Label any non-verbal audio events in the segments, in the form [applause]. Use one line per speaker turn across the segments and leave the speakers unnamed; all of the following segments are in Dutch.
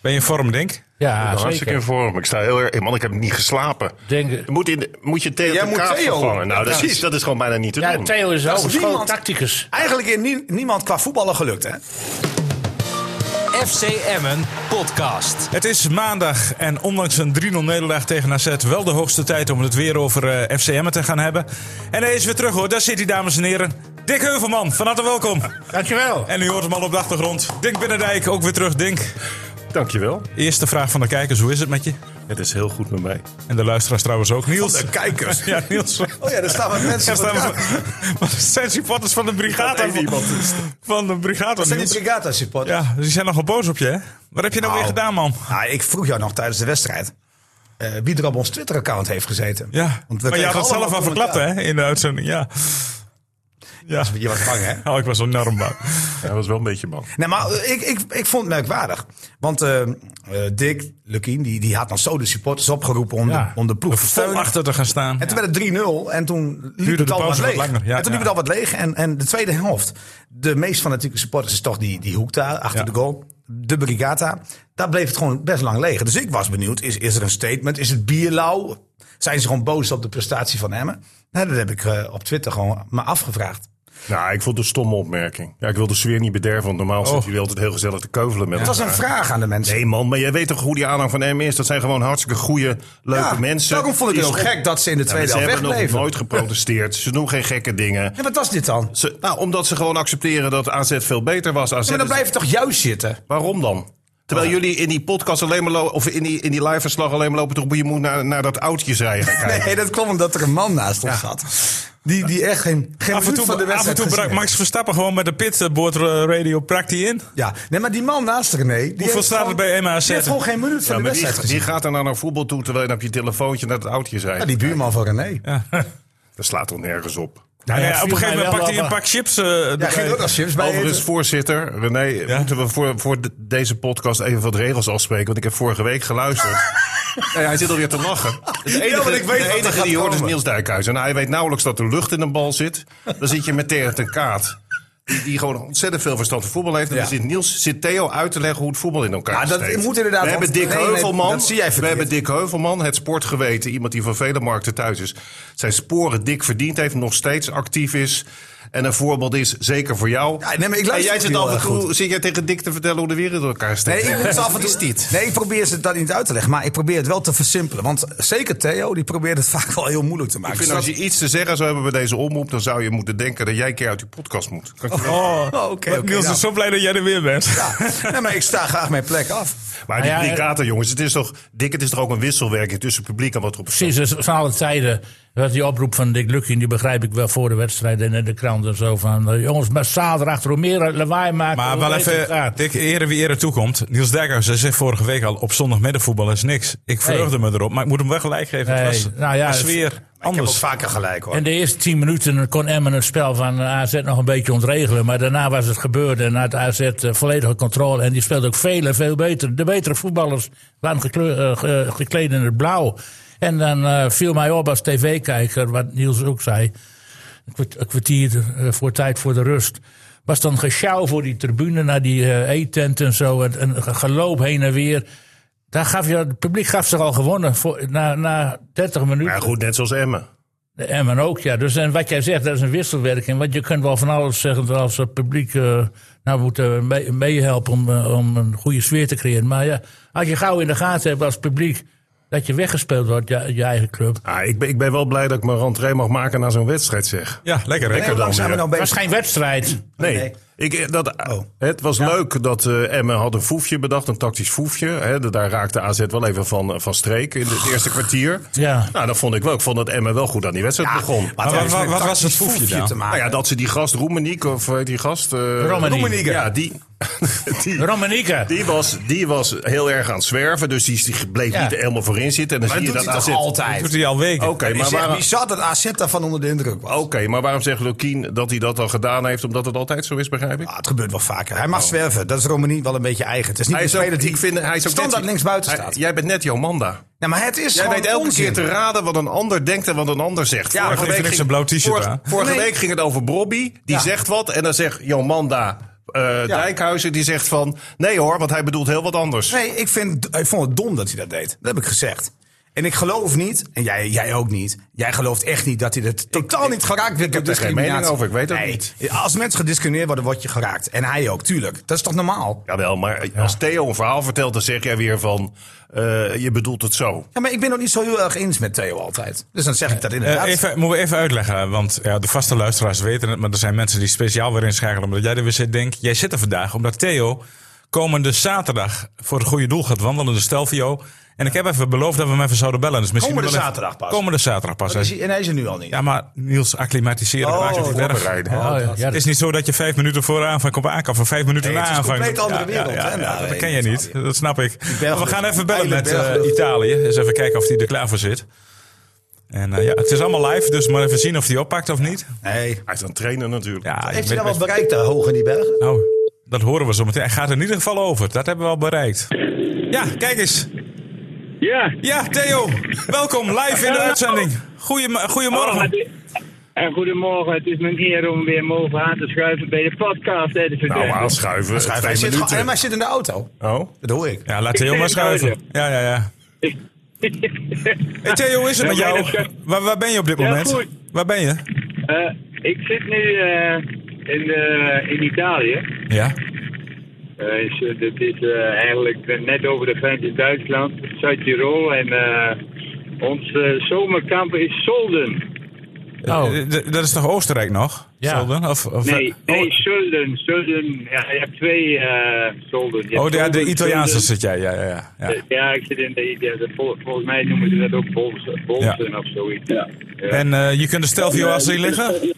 Ben je in vorm, denk
Ja,
ben hartstikke in
zeker.
vorm. Ik sta heel erg. Man, ik heb niet geslapen.
Denk-
moet, in de- moet je Theo
Jij
de
moet
kaart
Theo.
vervangen. Nou, dat, is,
Precies.
dat is gewoon bijna niet te
Ja,
doen.
Theo is
Dat is
hogeschool
niemand.
tacticus.
Eigenlijk is nie- niemand qua voetballen gelukt, hè?
FC Emmen podcast.
Het is maandag en ondanks een 3-0 nederlaag tegen AZ wel de hoogste tijd om het weer over eh FC Emmen te gaan hebben. En hij is weer terug hoor, daar zit hij dames en heren. Dick Heuvelman, van harte welkom.
Dankjewel.
En u hoort hem al op de achtergrond. Dink Binnendijk, ook weer terug. Dink,
Dankjewel.
eerste vraag van de kijkers, hoe is het met je?
Het is heel goed met mij.
En de luisteraars trouwens ook, Niels.
De
[laughs]
kijkers.
Ja, Niels.
Oh ja, daar staan wat mensen.
Ja,
voor
staan we-
elkaar.
Wat zijn supporters van de brigade?
Even iemand is.
Van de brigade,
Dat dus. zijn die
Niels.
Brigata supporters.
Ja, die zijn nogal boos op je, hè? Wat heb je nou
Nou.
weer gedaan, man?
Nou, ik vroeg jou nog tijdens de wedstrijd. eh, wie er op ons Twitter-account heeft gezeten.
Ja,
Want we
maar je had
kregen
het zelf
allemaal
al verklapt,
commentaar.
hè? In de uitzending, ja. Ja,
Je was bang, hè?
oh, ik was enorm bang.
Hij was wel een beetje man.
Nee, maar eh, ik, ik, ik vond het merkwaardig. Want eh, eh, Dick Lukien, die, die had nog zo de supporters opgeroepen om,
Ja.
de, om de ploeg te
Vol
steunen.
achter te gaan staan.
En toen werd het 3-0 en toen liep
Duurde
het
de
al wat
pauze wat
leeg.
langer, ja,
en toen liep
ja.
het al wat leeg. En, en de tweede helft, de meest fanatieke supporters is toch die, die hoek daar achter
Ja.
de goal. De Brigata. Daar bleef het gewoon best lang leeg. Dus ik was benieuwd, is, is er een statement? Is het bierlauw? Zijn ze gewoon boos op de prestatie van Emmen? Nou, dat heb ik eh, op Twitter gewoon me afgevraagd.
Nou, ik vond het een stomme opmerking. Ja, ik wil de sfeer niet bederven, want normaal zit
Oh.
jullie altijd heel gezellig te keuvelen met
Het was een
elkaar.
vraag aan de mensen.
Nee man, maar jij weet toch hoe die aanhang van M is? Dat zijn gewoon hartstikke goede, leuke
Ja,
mensen.
Daarom vond ik het
Die
ook
stop-
gek dat ze in de
Ja, maar
tweede helft
Ze hebben nog
wegbleven.
nooit geprotesteerd. ze doen geen gekke [laughs] dingen.
Ja, wat was dit dan?
Ze, nou, omdat ze gewoon accepteren dat AZ veel beter was. AZ
Ja, maar dan
is-
blijf je toch juist zitten?
Waarom dan? Terwijl jullie in die podcast alleen maar lopen, of in die, in die live verslag alleen maar lopen te roepen, je moet naar, naar dat oudje zijn gaan kijken.
Nee, dat kwam omdat er een man naast ons zat. Die, die echt geen, geen
Af en
minuut van de
toe, af en
wedstrijd
toe brak
gezien
Max Verstappen gewoon met de pitboard eh, radio prakte in.
heeft. Ja, nee, maar die man naast René... Die heeft
staat er
gewoon-
bij MAZ?
Die heeft gewoon geen minuut van
Ja, maar
de wedstrijd
wie, wie
gezien.
gaat er nou naar voetbal toe terwijl je op je telefoontje naar het oudje zijn?
Ja, die buurman van René. Ja,
Dat slaat toch nergens op.
Nou ja,
ja,
op een
viel
gegeven
mij
moment
wel
pakte hij een
wel-
pak chips. eh, erbij.
ging ook nog chips bij
Overigens,
eten.
voorzitter, René, moeten we voor, voor de- deze podcast even wat regels afspreken? Want ik heb vorige week
[laughs]
geluisterd. Nou ja, hij zit alweer te lachen. Het enige,
want ik weet
de
wat er
enige
gaat
die hoort is
komen.
Niels Dijkhuizen. Nou, hij weet nauwelijks dat er lucht in een bal zit. Dan zit je met Terre ten Kaat. Die, die gewoon ontzettend veel verstand van voetbal heeft. En
Ja.
dan zit, Niels, zit Theo uit te leggen hoe het voetbal in elkaar
Ja, dat
steekt.
moet inderdaad,
We
want-
hebben Dick
nee, nee,
Heuvelman.
dat zie jij
we
verkeerd.
hebben Dick Heuvelman, het sportgeweten. Iemand die van vele markten thuis is. Zijn sporen dik verdiend heeft. Nog steeds actief is. En een voorbeeld is, zeker voor jou.
Ja, nee, maar ik luister
en jij
ook
zit
heel
af en
erg
toe zit jij tegen Dick te vertellen hoe de wereld in elkaar steekt.
Nee, ik moet ze af en
Is
toe,
dit?
nee, ik probeer ze dat niet uit te leggen. Maar ik probeer het wel te versimpelen. Want zeker Theo, die probeert het [laughs] vaak wel heel moeilijk te maken.
Ik vind
Dus
als je iets te zeggen zou hebben bij deze omroep, dan zou je moeten denken dat jij een keer uit die podcast moet. Kan ik je-
Oh,
Oh, oké,
Niels
oké,
is
nou.
zo blij dat jij er weer bent.
dat- [laughs] Nee, maar ik sta graag mijn plek af.
Maar die
Nou ja,
brigata, jongens, het is toch, Dick, het is toch ook een wisselwerking tussen publiek en wat erop staat.
Precies, dus van alle tijden. was die oproep van Dick Lukien, die begrijp ik wel voor de wedstrijd en in de krant en zo. Van eh, jongens, massaal erachter, hoe meer lawaai maken.
Maar
hoe
wel
beter het Ah.
even,
gaat.
Dick, ere wie ere toekomt. Niels Dijkhuis, hij zegt vorige week al, op zondagmiddagvoetbal is niks. Ik verheugde me erop, maar ik moet hem wel gelijk geven.
Nee,
het was
nou ja,
een
het-
sfeer
Ik heb ook
anders.
vaker gelijk, hoor.
En de eerste tien minuten kon Emmen het spel van AZ nog een beetje ontregelen. Maar daarna was het gebeurd en had AZ eh, volledige controle. En die speelde ook veel, veel beter. De betere voetballers waren gekleur- eh, ge- gekleed in het blauw. En dan eh, viel mij op als tv-kijker, wat Niels ook zei. Een kwart- een kwartier eh, voor tijd voor de rust. Was dan gesjouw voor die tribune naar die eh, eettent en zo. En, en ge- geloop heen en weer. Daar gaf je, het publiek gaf zich al gewonnen voor, na, na 30 minuten.
Maar goed, net zoals Emmen.
De Emmen ook, ja. Dus en wat jij zegt, dat is een wisselwerking. Want je kunt wel van alles zeggen als het publiek eh, nou moet eh, mee- meehelpen om, eh, om een goede sfeer te creëren. Maar ja, als je gauw in de gaten hebt als publiek dat je weggespeeld wordt, je, je eigen club.
Ah, ik, ben, ik ben wel blij dat ik mijn rentree mag maken na zo'n wedstrijd, zeg.
Ja, lekker.
Nee,
hè?
hoe lang zijn we nou
Het
bezig?
was geen wedstrijd.
Oh, Nee.
Nee.
Ik, eh, dat, Het was leuk dat eh Emmen had een foefje bedacht, een tactisch foefje. Hè, de- daar raakte AZ wel even van, van streek in het eerste kwartier.
Ja.
Nou, dat vond ik wel. Ik vond dat Emmen wel goed aan die wedstrijd begon.
Maar het
wat-
heeft
wat-
met
wat was
tactisch
het foefje dan?
te maken.
Nou ja, dat ze die gast Roemeniek, of hoe heet die gast? eh
Romaniek.
Roemeniek, Ja, die, [laughs] die,
Romanieke.
die, was, die was heel erg aan het zwerven. Dus die, die bleef
Ja.
niet helemaal voorin zitten. En dan
Maar
zie
dat
je
doet
dat
hij
AZ...
toch altijd?
Doet hij al weken.
Oké,
maar
maar,
zeg,
waarom-
wie zat dat AZ daarvan onder de indruk was?
oké, maar waarom zegt Lukien dat hij dat al gedaan heeft? Omdat het altijd zo is, begrijp ik?
Ah, het gebeurt wel vaker. Hij mag zwerven. Dat is Romani wel een beetje eigen. Het is niet
Oh. Hij
een
is ook,
speler die
ik vind, hij is ook
standaard
net-
links buiten
hij-
staat.
Jij bent net Jomanda.
Nou, maar het is
Jij
gewoon
weet elke
onzin.
keer te raden wat een ander denkt en wat een ander zegt.
Ja,
maar geeft niks een blauw t-shirt
vorige,
aan.
vorige
Nee.
week ging het over Bobby. Die
Ja.
zegt wat en dan zegt Jomanda eh, Dijkhuizen die zegt van... Nee hoor, want hij bedoelt heel wat anders.
Nee, ik, vind, ik vond het dom dat hij dat deed. Dat heb ik gezegd. En ik geloof niet, en jij, jij ook niet. Jij gelooft echt niet dat hij dat totaal niet geraakt werd. Ik
heb daar geen mening over, ik weet het niet.
Als mensen gediscrimineerd worden, word je geraakt. En hij ook, tuurlijk. Dat is toch normaal?
Jawel, maar als Theo een verhaal vertelt, dan zeg jij weer van... eh, je bedoelt het zo.
Ja, maar ik ben ook niet zo heel erg eens met Theo altijd. Dus dan zeg ik dat
Eh,
inderdaad.
even, moeten we even uitleggen, want ja, de vaste luisteraars weten het, maar er zijn mensen die speciaal weer inschakelen. Omdat jij er weer zit, denkt, jij zit er vandaag omdat Theo komende zaterdag voor het goede doel gaat wandelen, de Stelvio. En ik heb even beloofd dat we hem even zouden bellen. Dus misschien
Komende
wel even-
zaterdag pas.
Komende zaterdag pas.
Dat is hij- en hij is er nu al niet.
Ja, maar Niels, acclimatiseren.
Oh,
maakt het niet erg.
voorbereiden.
Oh, ja, ja,
Het is niet zo dat je vijf minuten voor aanvang op aankomt of vijf minuten
Nee,
na
het is een
aanvang.
compleet andere wereld, hè? Nou,
dat
weet
ken
ik
je
wel,
niet, dat snap ik.
Belgen-
Maar we gaan even bellen met
Eilen Belgen.
eh, Italië. Eens even kijken of die er klaar voor zit. En eh, ja, het is allemaal live, dus maar even zien of die oppakt of niet.
Nee.
Hij is een trainer natuurlijk.
Ja, je
Heeft hij
weet-
dan wat bereikt daar hoog in die bergen?
Nou, dat horen we zo meteen. Hij gaat in ieder geval over, dat hebben we al bereikt. Ja, kijk eens.
Ja.
Ja, Theo, welkom live in de uitzending. Goedem-
Oh, het
goedemorgen.
is- en goedemorgen, het is mijn eer om weer mogen aan te schuiven bij de podcast. Hè, de
Nou,
verdediging.
aanschuiven.
Schuif,
twee
hij, zit, gewoon-
minuten.
en hij zit in de auto.
Oh?
Dat hoor ik.
Ja, laat Theo maar schuiven. Ja, ja,
[laughs]
ja. Hey Theo, hoe is het met
Ja,
jou?
maar dat
Waar, waar ben je op dit
Ja,
moment?
goed.
Waar ben je?
Eh, ik zit nu eh, in, eh, in Italië.
Ja.
Eh, is, eh, dit is eh, eigenlijk eh, net over de grens in Duitsland, Zuid-Tirol. En eh, ons eh, zomerkamp is Solden.
Oh.
Eh, d- Dat is toch Oostenrijk nog?
Ja.
Zelden? Of, of,
Nee, nee,
Oh,
Zulden. Zulden. Ja, je hebt twee eh Solden. Je hebt
Oh, de, de
Solden,
Italiaanse
Zulden.
zit jij. Ja, ja, ja. ja.
Ja, ik zit in de ja, de- vol- volgens mij noemen ze dat ook bolsen, bolsen of zoiets. Ja,
En eh, je kunt de Stelvio als zien liggen?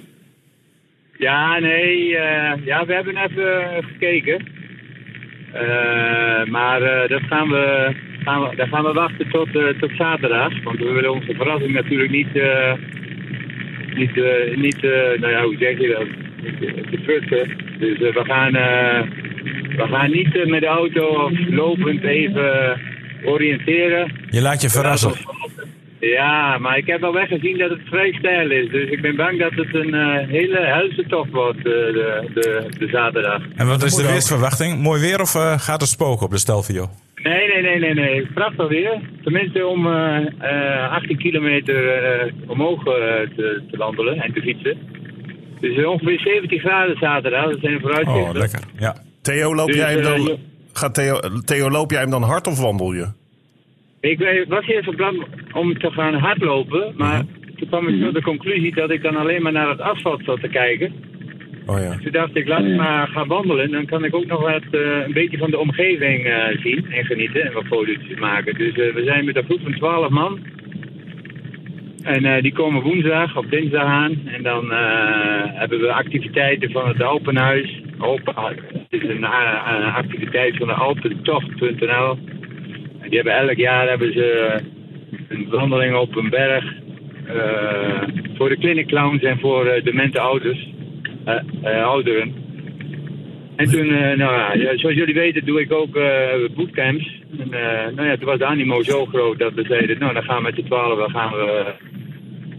ja nee, eh, ja, we hebben even gekeken. Eh, maar eh, dat gaan we, gaan we, daar gaan we wachten tot, eh, tot zaterdag. Want we willen onze verrassing natuurlijk niet, eh, niet, eh, niet eh, nou ja, hoe zeg je dat, Niet, eh, betrusten. Dus eh, we, gaan, eh, we gaan niet eh, met de auto of lopend even eh, oriënteren.
Je laat je verrassen.
Ja, maar ik heb al weggezien dat het vrij stijl is. Dus ik ben bang dat het een eh, hele helse tocht wordt eh, de, de, de zaterdag.
En wat is de
moet ook.
weersverwachting? Mooi weer of eh, gaat er spoken op de Stelvio?
Nee, nee, nee, nee, nee. Prachtig weer. Tenminste om eh, eh, 18 kilometer eh, omhoog eh, te, te wandelen en te fietsen. Dus eh, ongeveer 17 graden zaterdag. Dat zijn de vooruitzichten.
Oh, lekker. Ja.
Theo, loop
Dus,
jij hem
eh,
dan...
je-
Gaat Theo, Theo, loop jij hem dan hard of wandel je?
Ik eh, was eerst van plan om te gaan hardlopen, maar toen kwam ik tot de conclusie dat ik dan alleen maar naar het asfalt zat te kijken.
Oh ja.
Toen dacht ik, laat ik maar gaan wandelen. Dan kan ik ook nog wat, eh, een beetje van de omgeving eh, zien en genieten en wat foto's maken. Dus eh, we zijn met een groep van 12 man. En eh, die komen woensdag of dinsdag aan. En dan eh, hebben we activiteiten van het Alpenhuis. Alpen, ah, het is een, eh, een activiteit van de Alpentocht.nl. En die hebben elk jaar hebben ze een wandeling op een berg. eh, voor de clinic clowns en voor eh, demente ouders. Eh, eh, ouderen. En toen, eh, nou ja, ja, zoals jullie weten doe ik ook eh, bootcamps. En, eh, nou ja, toen was de animo zo groot dat we zeiden, nou dan gaan we met de twaalf, dan gaan we,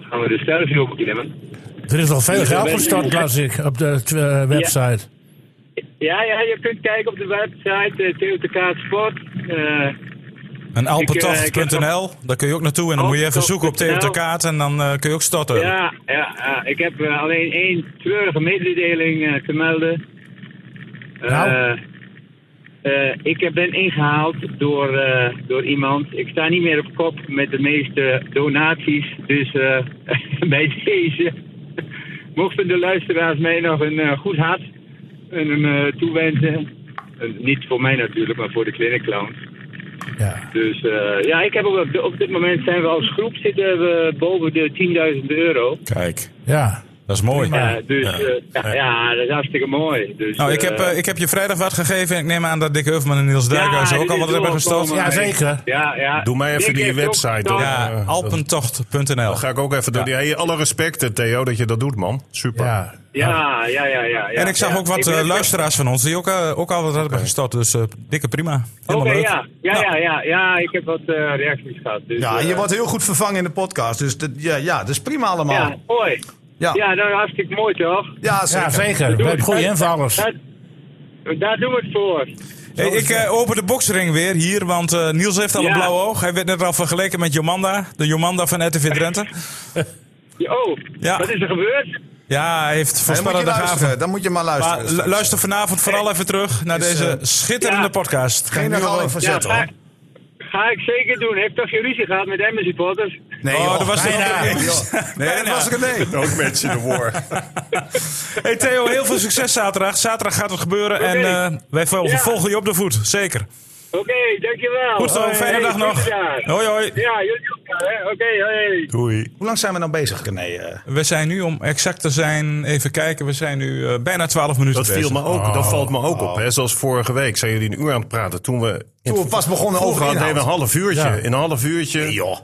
gaan we de sterfje opklimmen.
Er is al veel geld gestort, las ik, op de eh, website.
Ja, ja, je kunt kijken op de website uh, Theotekaat Sport. Eh,
En alpentocht.nl, daar kun je ook naartoe.
Oh,
En dan moet je even zoeken op Theo ter Kaat en dan eh, kun je ook stotten.
ja, ja, ja, ik heb eh, alleen één treurige mededeling eh, te melden. Eh,
Nou?
eh, ik ben ingehaald door, eh, door iemand. Ik sta niet meer op kop met de meeste donaties. Dus eh, [laughs] bij deze mochten de luisteraars mij nog een eh, goed hart en een eh, toewensen. Eh, niet voor mij natuurlijk, maar voor de clinic clowns.
Ja.
Dus eh, ja, ik heb op, op dit moment zijn we als groep zitten we boven de 10.000 euro.
Kijk,
ja.
dat is mooi.
Ja, dus ja. ja, ja, dat is hartstikke mooi. Dus,
Nou, ik heb,
eh,
eh, ik heb je vrijdag wat gegeven. en Ik neem aan dat Dick Heuvelman en Niels Dijkhuis
dit
ook al
is
wat hebben gestort.
doorgekomen.
Ja, zeker.
ja, ja.
Doe mij even
Dick
die
heeft ook
website,
gestort.
hoor.
Ja,
Ja,
alpentocht.nl.
Dan ga ik ook even door die... Hey, alle respecten, Theo, dat je dat doet, man. Super.
Ja.
Ja, ja, ja, ja, ja.
En ik zag
ja.
ook wat
ben
eh,
ook-
luisteraars van ons die ook, eh, ook al wat hebben gestort. Dus eh, dikke prima.
Oké,
Helemaal leuk.
ja. Ja, ja, ja, ja, ik heb wat eh, reacties gehad. Dus,
Ja,
eh,
je wordt heel goed vervangen in de podcast. Dus dat, ja, ja, dat is prima allemaal.
Ja,
Ja,
mooi.
Ja.
Ah.
Ja, nou, hartstikke mooi toch?
ja
Ja,
zeker.
zeker. We hebben goede invallers.
Dat, Daar doen we het voor.
Hey, ik eh, open de boksring weer hier, want eh, Niels heeft al een
Ja.
blauw oog. Hij werd net al vergeleken met Jomanda, de Jomanda van RTV Drenthe.
Oh,
Ja.
wat is er gebeurd?
Ja, hij heeft
Dan moet je
voorspellende gaven.
luisteren. Dan moet je maar
Maar
luisteren.
lu-
straks.
luister vanavond vooral even terug naar deze schitterende
eh, ja.
podcast.
Geen herhaling van
Ja,
zet
ga,
hoor.
ga ik zeker doen. Heb toch geen ruzie gehad met Emmen supporters?
Nee,
Oh,
joh,
dat was er
bijna.
ook niks.
Joh. Nee, dat
Bijna.
was er nee.
Ook mensen de war.
Hey Theo, heel veel succes zaterdag. Zaterdag gaat het gebeuren en
Oké.
eh, wij volgen,
Ja.
volgen je op de voet. Zeker.
Oké, dankjewel.
Goed zo,
Hoi.
fijne dag
Hey,
nog.
goed gedaan.
Hoi hoi.
Ja, jullie ook. hè? Oké, hoi.
Doei.
Hoe lang zijn we nou bezig? Nee, eh,
We zijn nu, om exact te zijn, even kijken, we zijn nu eh, bijna 12 minuten
Dat viel
bezig.
me ook,
Oh.
dat valt me ook op. Hè. Zoals vorige week zijn jullie een uur aan het praten. Toen we,
Toen we pas begonnen over
overal deden we een
inhoud.
half uurtje.
Ja.
In een half uurtje. Nee, joh.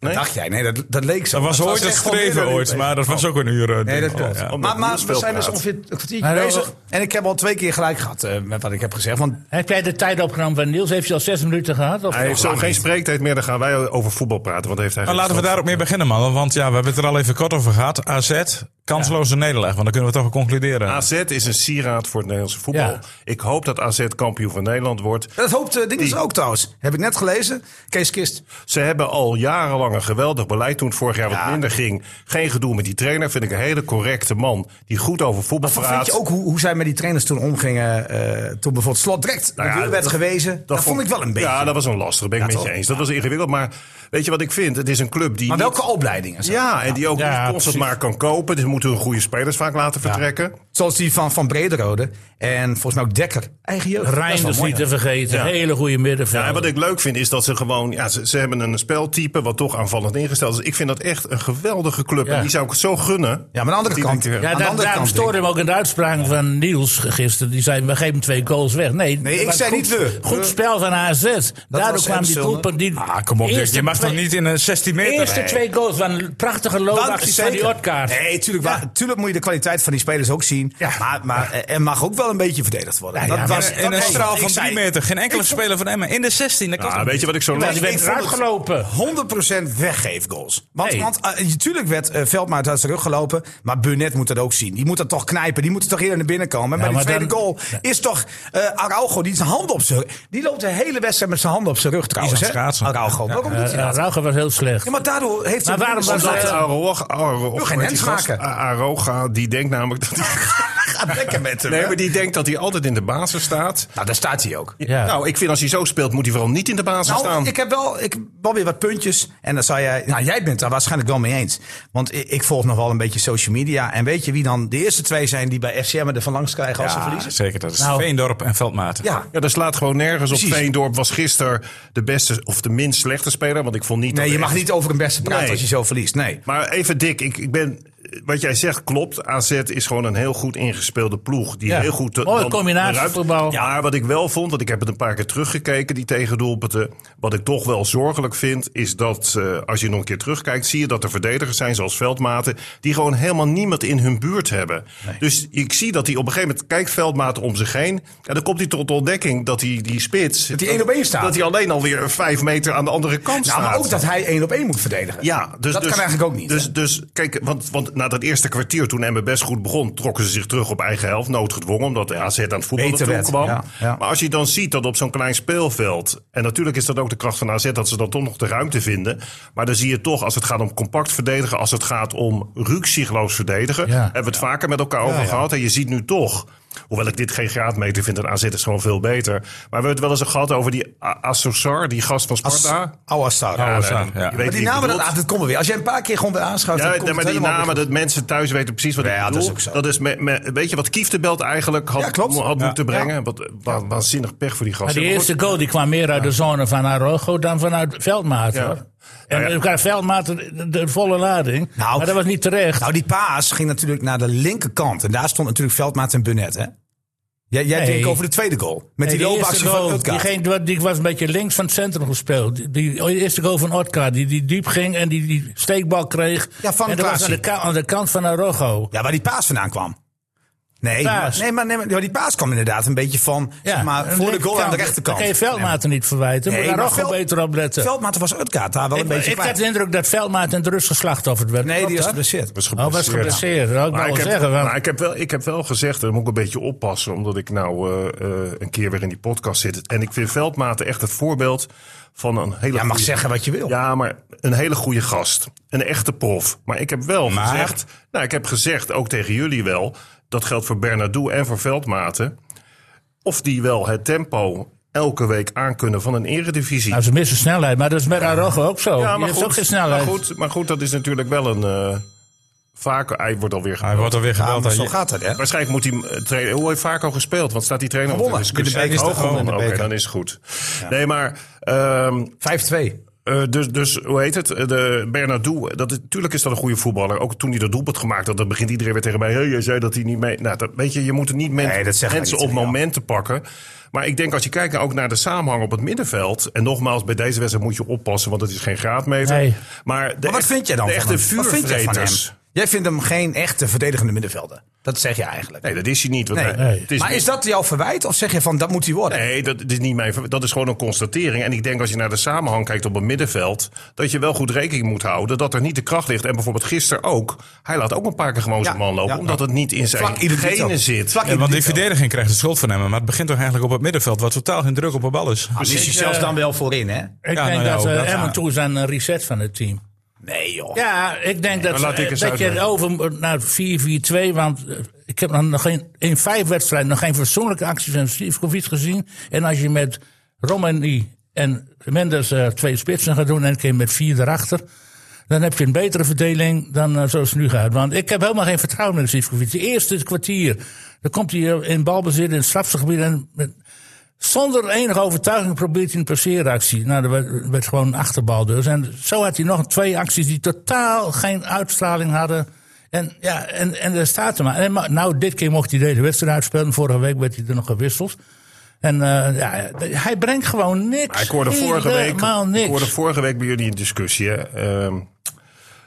Nee?
Dacht jij? Nee, dat, dat leek zo.
Dat was
Dat
ooit het
echt gewoon weer
streven
een uur
ooit,
bezig.
maar dat was ook een uur. eh,
Nee,
ding.
dat klopt.
Ja.
Maar, maar we zijn dus
speelpraat.
ongeveer een kwartiertje
Maar wel-
bezig. En ik heb al twee keer gelijk gehad eh, met wat ik heb gezegd. Want
Heb jij de tijd opgenomen van Niels? Heeft hij al zes minuten gehad? Of
Hij heeft zo geen spreektijd meer. Dan gaan wij over voetbal praten. Want
Nou,
heeft hij
Maar
geen
laten we
verstand
daar ook mee beginnen, man. Want ja, we hebben het er al even kort over gehad. AZ, kansloze nederlaag. Want dan kunnen we toch wel concluderen.
AZ is een sieraad voor het Nederlandse voetbal.
Ja.
Ik hoop dat AZ kampioen van Nederland wordt.
dat hoopt uh, Dinges ook trouwens. Heb ik net gelezen. Kees Kist.
Ze hebben al jarenlang een geweldig beleid. Toen het vorig jaar wat minder ging. Geen gedoe met die trainer. Vind ik een hele correcte man. Die goed over voetbal
Maar
praat.
vind je ook hoe, hoe zij met die trainers toen omgingen? eh, toen bijvoorbeeld Slot direct
Nou ja,
de deur werd gewezen. Dat, vond, ik wel een beetje.
Ja, dat was een lastig. Ben ik
Ja,
met je
toch?
eens. Dat was ingewikkeld. Maar weet je wat ik vind? Het is een club die.
maar
niet-
welke opleidingen? zo?
Ja, en die ook
Ja,
niet constant
precies.
maar kan kopen. Dus moeten hun goede spelers vaak laten vertrekken.
Zoals die van Van Brederode. En volgens mij ook Dekker. Eigen jeugd. Dat is wel
Reinders
mooi,
dus niet te vergeten.
Ja.
Hele goede middenveld.
Ja, en wat ik leuk vind is dat ze gewoon. Ja, ze, ze hebben een speltype wat toch aanvallend ingesteld is. Ik vind dat echt een geweldige club.
Ja.
En die zou ik zo gunnen.
Ja, maar aan de andere
Die
kant.
denkt weer-
Ja,
aan de
daar,
andere
daarom
kant
stoorde hem ook in de uitspraak van Niels gisteren. Die zei, we geven twee goals weg. Nee,
Nee,
dat
ik
was
zei
goed,
niet we.
Goed
We-
spel van AZ. Daardoor
was
kwam die
Emsel, hè?
doelpunt. Die
Ah, kom op, Dirk.
eerste
je mag
twee-
toch niet in een 16 meter?
eerste
Nee.
twee goals waren prachtige
Dan,
loopacties van die
zeker.
Otkaart.
Nee, tuurlijk, wa- tuurlijk moet je de kwaliteit van die spelers ook zien. Maar, maar eh, er mag ook wel een beetje verdedigd worden.
Ja,
dat
maar
was,
in
dat
een
was-
straal
ik
van
zei-
3 meter. Geen enkele speler van Emmen. In de 16. Dat kan
Ah,
toch
weet je wat ik zo leuk
Maar die
vind?
werd
ik vond
eruit
het-
gelopen.
100% weggeefgoals. Want,
Nee.
want eh, natuurlijk werd eh, Veldmaat uit zijn rug gelopen. Maar Burnett moet dat ook zien. Die moet dat toch knijpen. Die moet toch eerder naar binnen komen. En
Ja,
bij die
maar
tweede
dan-
goal is toch eh Araujo. Die, zijn hand op zijn, die loopt de hele wedstrijd met zijn handen op zijn rug trouwens.
aan
hè?
het schaatsen.
Araujo. Waarom doet
Eh,
hij dat?
Rauge was heel slecht.
Ja, maar daardoor heeft hij...
Maar waarom was
Omdat-
dat-
Dat Aroga,
Wil geen hens maken.
Aroga, die denkt namelijk dat hij.
Gaat [laughs] lekker met hem.
Nee,
hè?
maar die denkt dat hij altijd in de basis staat.
Nou, daar staat hij ook.
Ja.
Nou, ik vind als hij zo speelt, moet hij vooral niet in de basis
Nou,
staan.
ik heb wel, ik, wel weer wat puntjes. En dan zou jij, nou, jij bent daar waarschijnlijk wel mee eens. Want ik, ik volg nog wel een beetje social media. En weet je wie dan de eerste twee zijn die bij FCM er van langs krijgen als ze verliezen?
Zeker, dat is
Nou.
Veendorp en Veldmaten.
Ja.
Ja, dat slaat gewoon nergens op.
Precies.
Veendorp was gisteren de beste of de minst slechte speler. Want ik vond niet.
Nee,
dat
je mag
echt-
niet over een beste praten
Nee.
als je zo verliest. Nee. Nou,
Maar even dik, ik, ik ben. Wat jij zegt klopt. AZ is gewoon een heel goed ingespeelde ploeg. Die
Ja.
heel goed. de-
Mooie
dan-
combinatievoetbal.
Ja, maar wat ik wel vond, want ik heb het een paar keer teruggekeken, die tegendoelpunten. Wat ik toch wel zorgelijk vind, is dat eh, als je nog een keer terugkijkt, zie je dat er verdedigers zijn, zoals Veldmaten, die gewoon helemaal niemand in hun buurt hebben. Dus ik zie dat hij op een gegeven moment kijkt Veldmaten om zich heen. En dan komt hij tot de ontdekking dat hij die spits. Dat
hij één op één staat.
Dat hij alleen alweer vijf meter aan de andere kant
Nou,
staat.
maar ook dat hij één op één moet verdedigen.
Ja, dus,
dat
dus-
kan eigenlijk ook niet.
Dus,
hè?
dus kijk, want, want na dat eerste kwartier, toen Emmen best goed begon, trokken ze zich terug op eigen helft, noodgedwongen, omdat de AZ aan het voetballen
Beter
toe
werd,
kwam.
ja, ja.
Maar als je dan ziet dat op zo'n klein speelveld, en natuurlijk is dat ook de kracht van AZ, dat ze dan toch nog de ruimte vinden. Maar dan zie je toch, als het gaat om compact verdedigen, als het gaat om ruksigloos verdedigen,
Ja.
hebben we het vaker met elkaar over gehad. En je ziet nu toch. Hoewel ik dit geen graadmeter vind, en AZ is gewoon veel beter. Maar we hebben het wel eens gehad over die A- Assoussar, die gast van Sparta.
Ouassar.
Ja,
Maar
dat is waar, ja.
Je weet
die
wie ik
namen, dat,
bedoel.
ah, dat komen weer. Als jij een paar keer gewoon weer aanschouwt,
Ja,
dan komt
nee, maar
het
die
helemaal
namen,
weer
dat mensen thuis weten precies wat ik
Ja, dat
bedoel.
is ook zo.
me, me- weet je wat Kieftenbelt eigenlijk had,
Ja, klopt.
had
Ja.
moeten brengen? Wat wa- waanzinnig pech voor die
Maar
gasten.
die
Maar goed,
eerste goal die kwam meer uit de zone van Arogo dan vanuit Veldmaat.
Ja.
Hoor.
ja.
En elkaar Veldmaat de, de volle lading.
Nou,
maar dat was niet terecht.
Nou, die paas ging natuurlijk naar de linkerkant. En daar stond natuurlijk Veldmaat en Bunnet, hè? Jij, jij
Nee.
denkt over de tweede goal. Met
Nee,
die
die eerste
loopactie
goal,
van
die,
Utkaart.
ging- die was een beetje links van het centrum gespeeld. Die, die eerste goal van Otka, die, die diep ging en die, die steekbal kreeg.
Ja, van
en dat was
Klaasie.
aan de, ka- aan de kant van Arogo.
Ja, waar die paas vandaan kwam. Nee, maar,
Paas.
nee, maar, nee, maar ja, die paas kwam inderdaad een beetje van zeg maar,
een
voor de goal
linkerkant.
aan de rechterkant.
Dan kun je Veldmaten niet verwijten.
Nee,
moet daar
maar
ook wel
Veld-
beter op letten.
Veldmaten was Utkaat daar wel een
ik,
beetje
ik
kwijt.
had de indruk dat Veldmaat en de rust geslachtofferd werd.
Nee,
Klopt
die was
dat?
geblesseerd.
was
Oh, was
geblesseerd.
geblesseerd. Dat wou ik
Maar
wel
ik, heb,
zeggen. want-
maar ik, heb wel, ik heb wel gezegd, en dan moet ik een beetje oppassen, omdat ik nou eh, eh, een keer weer in die podcast zit. En ik vind Veldmaten echt het voorbeeld van een hele.
Ja, mag
goede-
zeggen wat je wil.
Ja, maar een hele goede gast. Een echte prof. Maar ik heb wel
Maar-
gezegd, nou, ik heb gezegd, ook tegen jullie wel, dat geldt voor Bernardo en voor Veldmaten, of die wel het tempo elke week aankunnen van een eredivisie.
Nou, ze missen snelheid, maar dat is met Arrojo ook zo.
ja,
Die
maar
heeft
goed,
ook geen snelheid.
Maar goed, maar goed, dat is natuurlijk wel een. eh vaker, hij wordt alweer
Hij wordt alweer
Ja,
gebeld.
maar
aan
zo
je-
gaat dat, hè?
Waarschijnlijk moet hij eh, trainen. Hoe heeft Vaco gespeeld? Want staat die trainer op de
Gewonnen.
discussie?
In de beker.
Oh,
Is toch
gewonnen.
gewonnen in
Oké,
de beker.
dan is het goed. Nee, maar ehm,
5-2.
eh, dus, dus hoe heet het? Eh, De Bernardo, eh, dat is, tuurlijk is dat een goede voetballer. Ook toen hij dat doelpunt gemaakt had, dan begint iedereen weer tegen mij. Hey, jij zei dat hij niet mee. Nou, dat, weet je, je moet er niet men-
Nee, dat zegt hij
mensen
niet,
op
ja.
momenten pakken. Maar ik denk als je kijkt ook naar de samenhang op het middenveld. En nogmaals, bij deze wedstrijd moet je oppassen, want het is geen graadmeter.
Nee.
Maar, de
Maar wat
echt-
vind jij dan
De
van
echte
hem? Wat vind jij van hem?
vuurvreters.
Jij vindt hem geen echte verdedigende middenvelder. Dat zeg je eigenlijk.
Nee, dat is hij niet. want
Nee.
hij-
Nee.
het is
maar is dat jouw verwijt of zeg je van dat moet hij worden?
Nee, dat, is niet mijn, ver- dat is gewoon een constatering. En ik denk als je naar de samenhang kijkt op het middenveld... dat je wel goed rekening moet houden dat er niet de kracht ligt. En bijvoorbeeld gisteren ook. Hij laat ook een paar keer gewoon zijn man lopen.
ja.
omdat het niet in zijn
Vlak identiek ook.
genen zit.
Vlak
Ja, want die
identiek ook.
verdediging krijgt de schuld van hem. Maar het begint toch eigenlijk op het middenveld, wat totaal geen druk op de bal is.
Dan is hij
eh,
zelfs dan wel voorin, hè?
Ik
Ja,
denk
nou ja,
dat
ook
eh,
dat-
Emmen toe is aan een reset van het team.
Nee, joh.
Ja, ik denk dat,
laat ik
eh,
eens
dat je het
uitleggen.
over nou, moet naar 4-4-2. Want eh, ik heb nog- nog geen, in vijf wedstrijden nog geen persoonlijke actie van Sivkovic gezien. En als je met Romani en Mendes eh, twee spitsen gaat doen en een keer met vier erachter. Dan heb je een betere verdeling dan eh, zoals het nu gaat. Want ik heb helemaal geen vertrouwen in Sivkovic. De eerste kwartier, dan komt hij eh, in balbezit in het strafgebied. En met- zonder enige overtuiging probeert hij een passeeractie. Nou, dat werd, werd gewoon een achterbal dus. En zo had hij nog twee acties die totaal geen uitstraling hadden. En ja, en, en daar staat er maar. En, maar- nou, dit keer mocht hij de hele wedstrijd uitspelen. Vorige week werd hij er nog gewisseld. En eh, ja, hij brengt gewoon niks. eh,
Maar Nou, ik hoorde vorige week,
Helemaal niks.
ik hoorde vorige week bij jullie een discussie hè, ehm,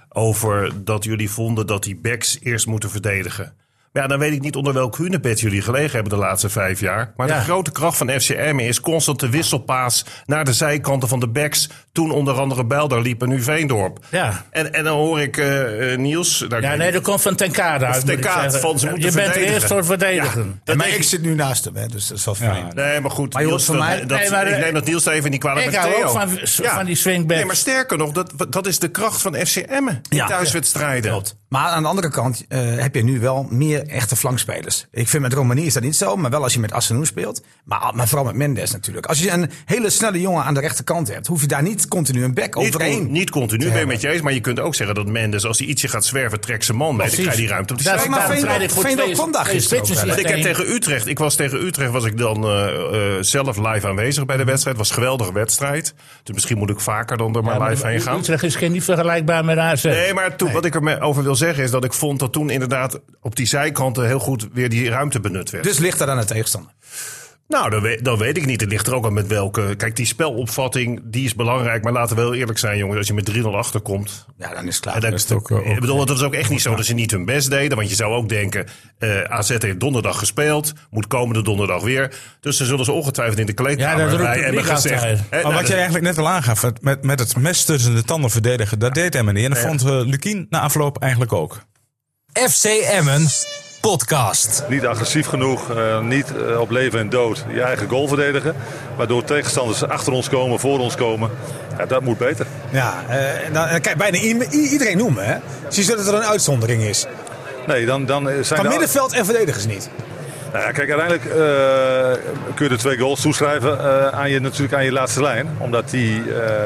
over dat jullie vonden dat die backs eerst moeten verdedigen. Maar Ja, dan weet ik niet onder welk hunebed jullie gelegen hebben de laatste vijf jaar. Maar
Ja.
de grote kracht van FCM is constant de wisselpaas naar de zijkanten van de backs. Toen onder andere Bijlder liep en nu Veendorp.
Ja.
En, en dan hoor ik eh, eh, Niels. nou, ik
Ja,
weet
nee,
niet-
dat komt van Tenkade uit.
Of Ten
moet ik
Kade,
zeggen.
van ze moeten
Je bent er
verdedigen.
eerst voor verdedigen.
Ja, maar
denk
ik
ik-
zit nu naast hem, hè, dus dat is wel fijn.
Nee, maar goed.
Maar joh,
Niels,
voor
dat-
mij-
dat-
Nee, maar,
ik
eh,
neem dat Niels even niet kwalijk
ik
met
hou
Theo.
ook van- van die swingbacks.
Nee, maar sterker nog, dat, dat is de kracht van FCM'en. Die
Ja.
thuiswedstrijden.
Maar aan de andere kant eh, heb je nu wel meer echte flankspelers. Ik vind met Romani is dat niet zo, maar wel als je met Assenou speelt. Maar, maar vooral met Mendes natuurlijk. Als je een hele snelle jongen aan de rechterkant hebt, hoef je daar niet continu een back
Niet,
overheen.
con- niet continu ben ik met je eens, maar je kunt ook zeggen dat Mendes, als hij ietsje gaat zwerven, trekt zijn man mee. Dan
Precies.
krijg je die ruimte op de
Daar-
zijkant.
maar
daar
Veendorp-
pleit ik voor
Veendorp
twee-
kwam daar
twee
gisteren ook
spitsen
wel, hè?
Want ik heb
systeem.
tegen Utrecht, ik was tegen Utrecht, was ik dan eh, eh, zelf live aanwezig bij de wedstrijd. was een geweldige wedstrijd. Dus misschien moet ik vaker dan er maar
Ja,
live
maar
heen gaan.
Utrecht is geen niet vergelijkbaar met AZ.
Nee, maar toen, wat ik erover wil zeggen is dat ik vond dat toen inderdaad op die zijkanten heel goed weer die ruimte benut werd.
Dus ligt dat aan de tegenstander.
Nou, dan weet, dan weet ik niet. Het ligt er ook aan met welke. Kijk, die spelopvatting die is belangrijk. Maar laten we wel eerlijk zijn, jongens. Als je met 3-0 achterkomt.
Ja, dan is het klaar.
en dan-
is het ook, eh, ook-
ik bedoel, dat was ook echt niet zo dat ze niet hun best deden. Want je zou ook denken: eh, AZ heeft donderdag gespeeld. Moet komende donderdag weer. Dus ze zullen ze ongetwijfeld in de
Ja, dat
kleedkamer
roept
bij
het
hebben
publiek
gezegd.
altijd.
eh,
Maar
nou,
wat je
dat-
eigenlijk net al aangaf, het- met, met het mes tussen de tanden verdedigen, dat deed hem niet. En dat vond eh, Lukien na afloop eigenlijk ook.
FC Emmen podcast.
Niet agressief genoeg, eh, niet eh, op leven en dood je eigen goal verdedigen. Waardoor tegenstanders achter ons komen, voor ons komen. Ja, dat moet beter.
Ja, eh, dan, dan kan je bijna i- i- iedereen noemen. Hè? Dus je ziet dat er een uitzondering is.
Nee, dan, dan eh, zijn
Van
de-
middenveld en verdedigers niet.
Nou ja, kijk, uiteindelijk eh, kun je de twee goals toeschrijven eh, aan je, natuurlijk aan je laatste lijn. Omdat die, eh,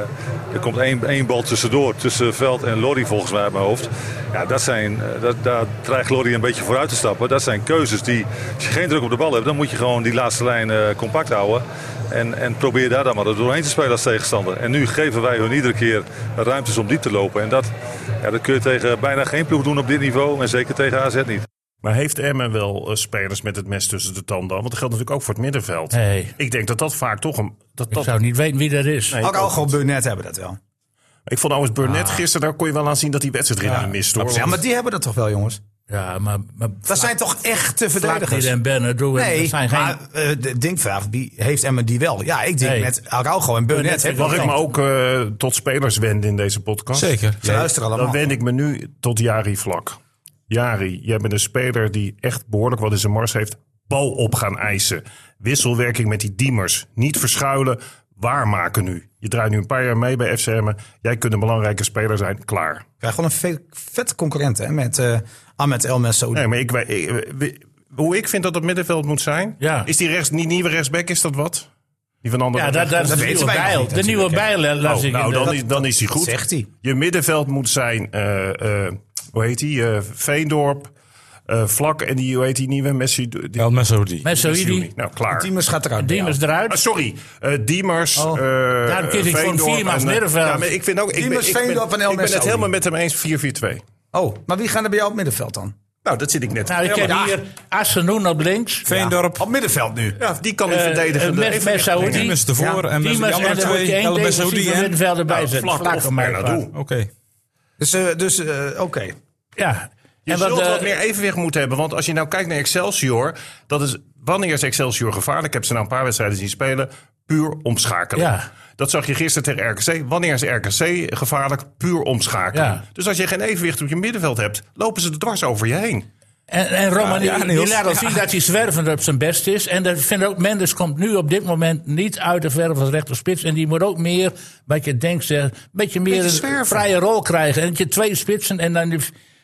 er komt één, één bal tussendoor, tussen Veld en Lorry volgens mij uit mijn hoofd. Ja, dat zijn, eh, dat, daar dreigt Lorry een beetje vooruit te stappen. Dat zijn keuzes die, als je geen druk op de bal hebt, dan moet je gewoon die laatste lijn eh, compact houden. En, en probeer daar dan maar doorheen te spelen als tegenstander. En nu geven wij hun iedere keer ruimtes om diep te lopen. En dat, ja, dat kun je tegen bijna geen ploeg doen op dit niveau. En zeker tegen AZ niet.
Maar heeft Emmen wel eh, spelers met het mes tussen de tanden? Want dat geldt natuurlijk ook voor het middenveld.
Nee.
Ik denk dat dat vaak toch een. Dat,
Ik
dat,
zou niet weten wie dat is.
nee,
Ook
ook-
Algo Burnett hebben dat wel.
Ah.
Ik vond Owens Burnett gisteren, daar kon je wel aan zien dat hij wedstrijdritme mist. Hoor.
Ja, maar die hebben dat toch wel, jongens?
Ja, maar, maar
Dat zijn toch echte
Vlaardien
verdedigers?
en Benadou en
Nee,
dat zijn geen...
maar eh, de Dinkgraaf, die heeft Emmen die wel. Ja, ik denk
Nee.
met Araujo en Burnett.
Burnett
hè,
vind
want
Mag ik me ook eh, tot spelers wenden in deze podcast?
Zeker.
Ze luisteren allemaal.
Dan wend ik me nu tot Jari Vlak. Jari, jij bent een speler die echt behoorlijk wat in zijn mars heeft. Bal op gaan eisen. Wisselwerking met die diemers. Niet verschuilen. Waarmaken nu. Je draait nu een paar jaar mee bij FCM. Jij kunt een belangrijke speler zijn. Klaar.
krijg gewoon een ve- vette concurrent hè, met eh Ahmed El Mensoudi.
Nee, maar ik, wij- ik- we- hoe ik vind dat het middenveld moet zijn.
Ja.
Is die rechts, die nieuwe rechtsback, is dat wat? Die van andere
ja, dat, dat, is de
weten
nieuwe
wij nog
bijl.
niet
De nieuwe bijl eh, las
Oh,
ik
nou,
in de-
dan, is, dan is hij goed.
zegt hij.
Je middenveld moet zijn, eh, eh, hoe heet hij? Veendorp, eh, Vlak en die, hoe heet die nieuwe? Messi. Die,
El Mesoudi.
Met Saidi,
Messi- Nou, klaar.
Tiemers gaat eruit. bij jou.
Diemers eruit.
Ah, sorry, eh, Diemers,
Oh.
eh,
Daarom kies ik voor
Veendorp
Viermaans
en, eh,
middenveld.
Ja, maar ik vind ook, ik ben-
Diemers,
ik ben,
Veendorp en
ik
El
ben het
Messaoudi.
helemaal met hem eens 4-4-2.
Oh, maar wie gaan er bij jou op middenveld dan?
Nou, dat zit ik net.
Nou, ik heb
Ja,
hier Assenoen op links.
Veendorp.
Op middenveld nu.
ja, die kan ik
eh,
verdedigen.
eh, Mes- Messaoudi.
Die is ervoor.
Ja,
en met die
Diemers en
andere
dan moet je
twee. El
één
Mesoudi
defensieve
en...
middenvelder bij
Nou,
zetten.
vlak of
maar.
Bernardo.
Oké.
Dus, eh, dus eh, oké.
Ja.
Je
En wat,
zult
eh,
wat meer evenwicht moeten hebben. Want als je nou kijkt naar Excelsior, dat is, wanneer is Excelsior gevaarlijk? Ik heb ze nou een paar wedstrijden zien spelen. Puur omschakelen.
Ja.
Dat zag je gisteren tegen RKC. Wanneer is RKC gevaarlijk? Puur omschakelen.
Ja.
Dus als je geen evenwicht op je middenveld hebt, lopen ze er dwars over je heen.
En, en Romani,
Ja, ja,
die
Niels.
laat al zien dat hij zwervend op zijn best is. En dat vind ik ook, Mendes komt nu op dit moment niet uit de verf als rechterspits. En die moet ook meer, wat je denkt, zeg, een beetje meer
Beetje
een
zwerven.
vrije rol krijgen. En dat je twee spitsen en dan die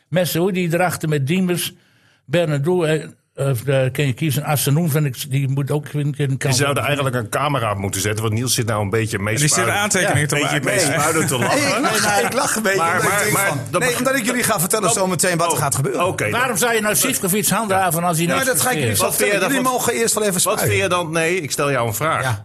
mensen, hoe die erachter met Diemers, Bernardo, eh, of eh, kun je kiezen, Assenoen vind ik, die moet ook een keer een
Je
kans
zou er eigenlijk een camera op moeten zetten. Want Niels zit nou een beetje mee
Die zit een aantekening te
Een beetje
maken.
mee spuilend te lachen.
Nee, ik lach, ik lach een beetje.
Maar-
omdat ik
maar-
denk
maar
van-
dat
nee,
beg-
omdat ik jullie ga vertellen zometeen wat er gaat gebeuren.
Oké.
hebben. Waarom zou je nou Sivkovic handhaven als hij
Ja,
nou
maar dat ga ik jullie zo
Wat vind
vertellen.
je
Jullie
daarvan?
mogen eerst wel even
Wat vind
spuien.
je dan? Nee, ik stel jou een vraag.
Ja.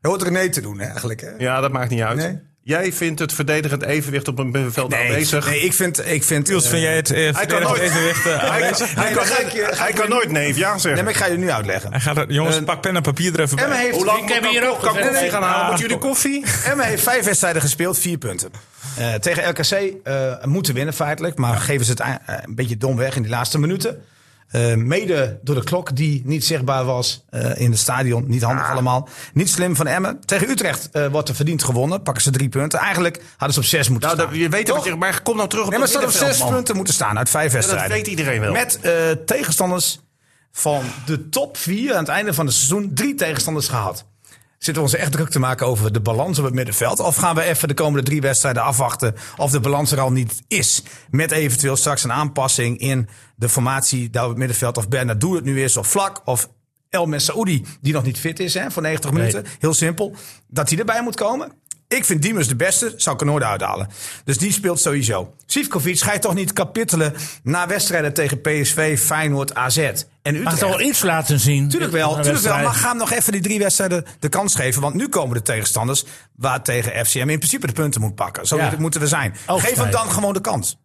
Je hoort René te doen hè, eigenlijk. Hè?
Ja, nou, dat maakt niet uit.
Nee.
Jij vindt het verdedigend evenwicht op een middenveld aanwezig.
nee, ik vind... Ik vind
Niels,
eh,
vind jij het eh, verdedigend
nooit-
evenwicht
[laughs]
eh,
[laughs] Hij
aanwezig?
kan, hij
Nee,
kan,
dan ga ik je- ga
hij
ik
kan
je-
nooit nee of ja
Nee,
zeggen.
maar ik ga je nu uitleggen.
Hij gaat er- jongens,
Eh,
pak pen en papier er even
Emma
bij.
heeft,
Hoe lang
Ik heb
kan-
hier ook
kan
gezegd-
koffie gaan halen?
Ah,
Moet jullie koffie?
Emma heeft vijf wedstrijden gespeeld, vier punten. Eh, tegen LKC eh, moeten winnen feitelijk. Maar geven ze het ei- eh, een beetje dom weg in die laatste minuten. Eh, mede door de klok die niet zichtbaar was eh, in het stadion. Niet handig
Ah.
allemaal. Niet slim van Emmen. Tegen Utrecht eh, wordt er verdiend gewonnen. Pakken ze drie punten. Eigenlijk hadden ze op zes moeten
Nou, dat,
staan.
je weet
Toch?
dat je maar kom nou terug op
Nee, maar
dat
ze hadden op zes
middenveld, man.
punten moeten staan uit vijf
Ja, dat
wedstrijden.
weet iedereen wel.
Met eh, tegenstanders van de top vier aan het einde van het seizoen drie tegenstanders gehad. Zitten we ons echt druk te maken over de balans op het middenveld? Of gaan we even de komende drie wedstrijden afwachten of de balans er al niet is? Met eventueel straks een aanpassing in de formatie daar op het middenveld. Of Bernardo het nu is, of Vlak, of El Messaoudi, die nog niet fit is hè, voor 90 minuten. Heel simpel. Dat hij erbij moet komen. Ik vind Diemers de beste, zou ik er nooit uithalen. Dus die speelt sowieso. Sivkovic ga je toch niet kapittelen na wedstrijden tegen PSV, Feyenoord, AZ en
Mag
Utrecht.
het al iets laten zien.
Tuurlijk wel,
Een
tuurlijk wel.
wedstrijd.
Maar ga hem nog even die drie wedstrijden de kans geven. Want nu komen de tegenstanders waar tegen FCM in principe de punten moet pakken. Zo
Ja.
moeten we zijn.
Oogstrijden.
Geef hem dan gewoon de kans.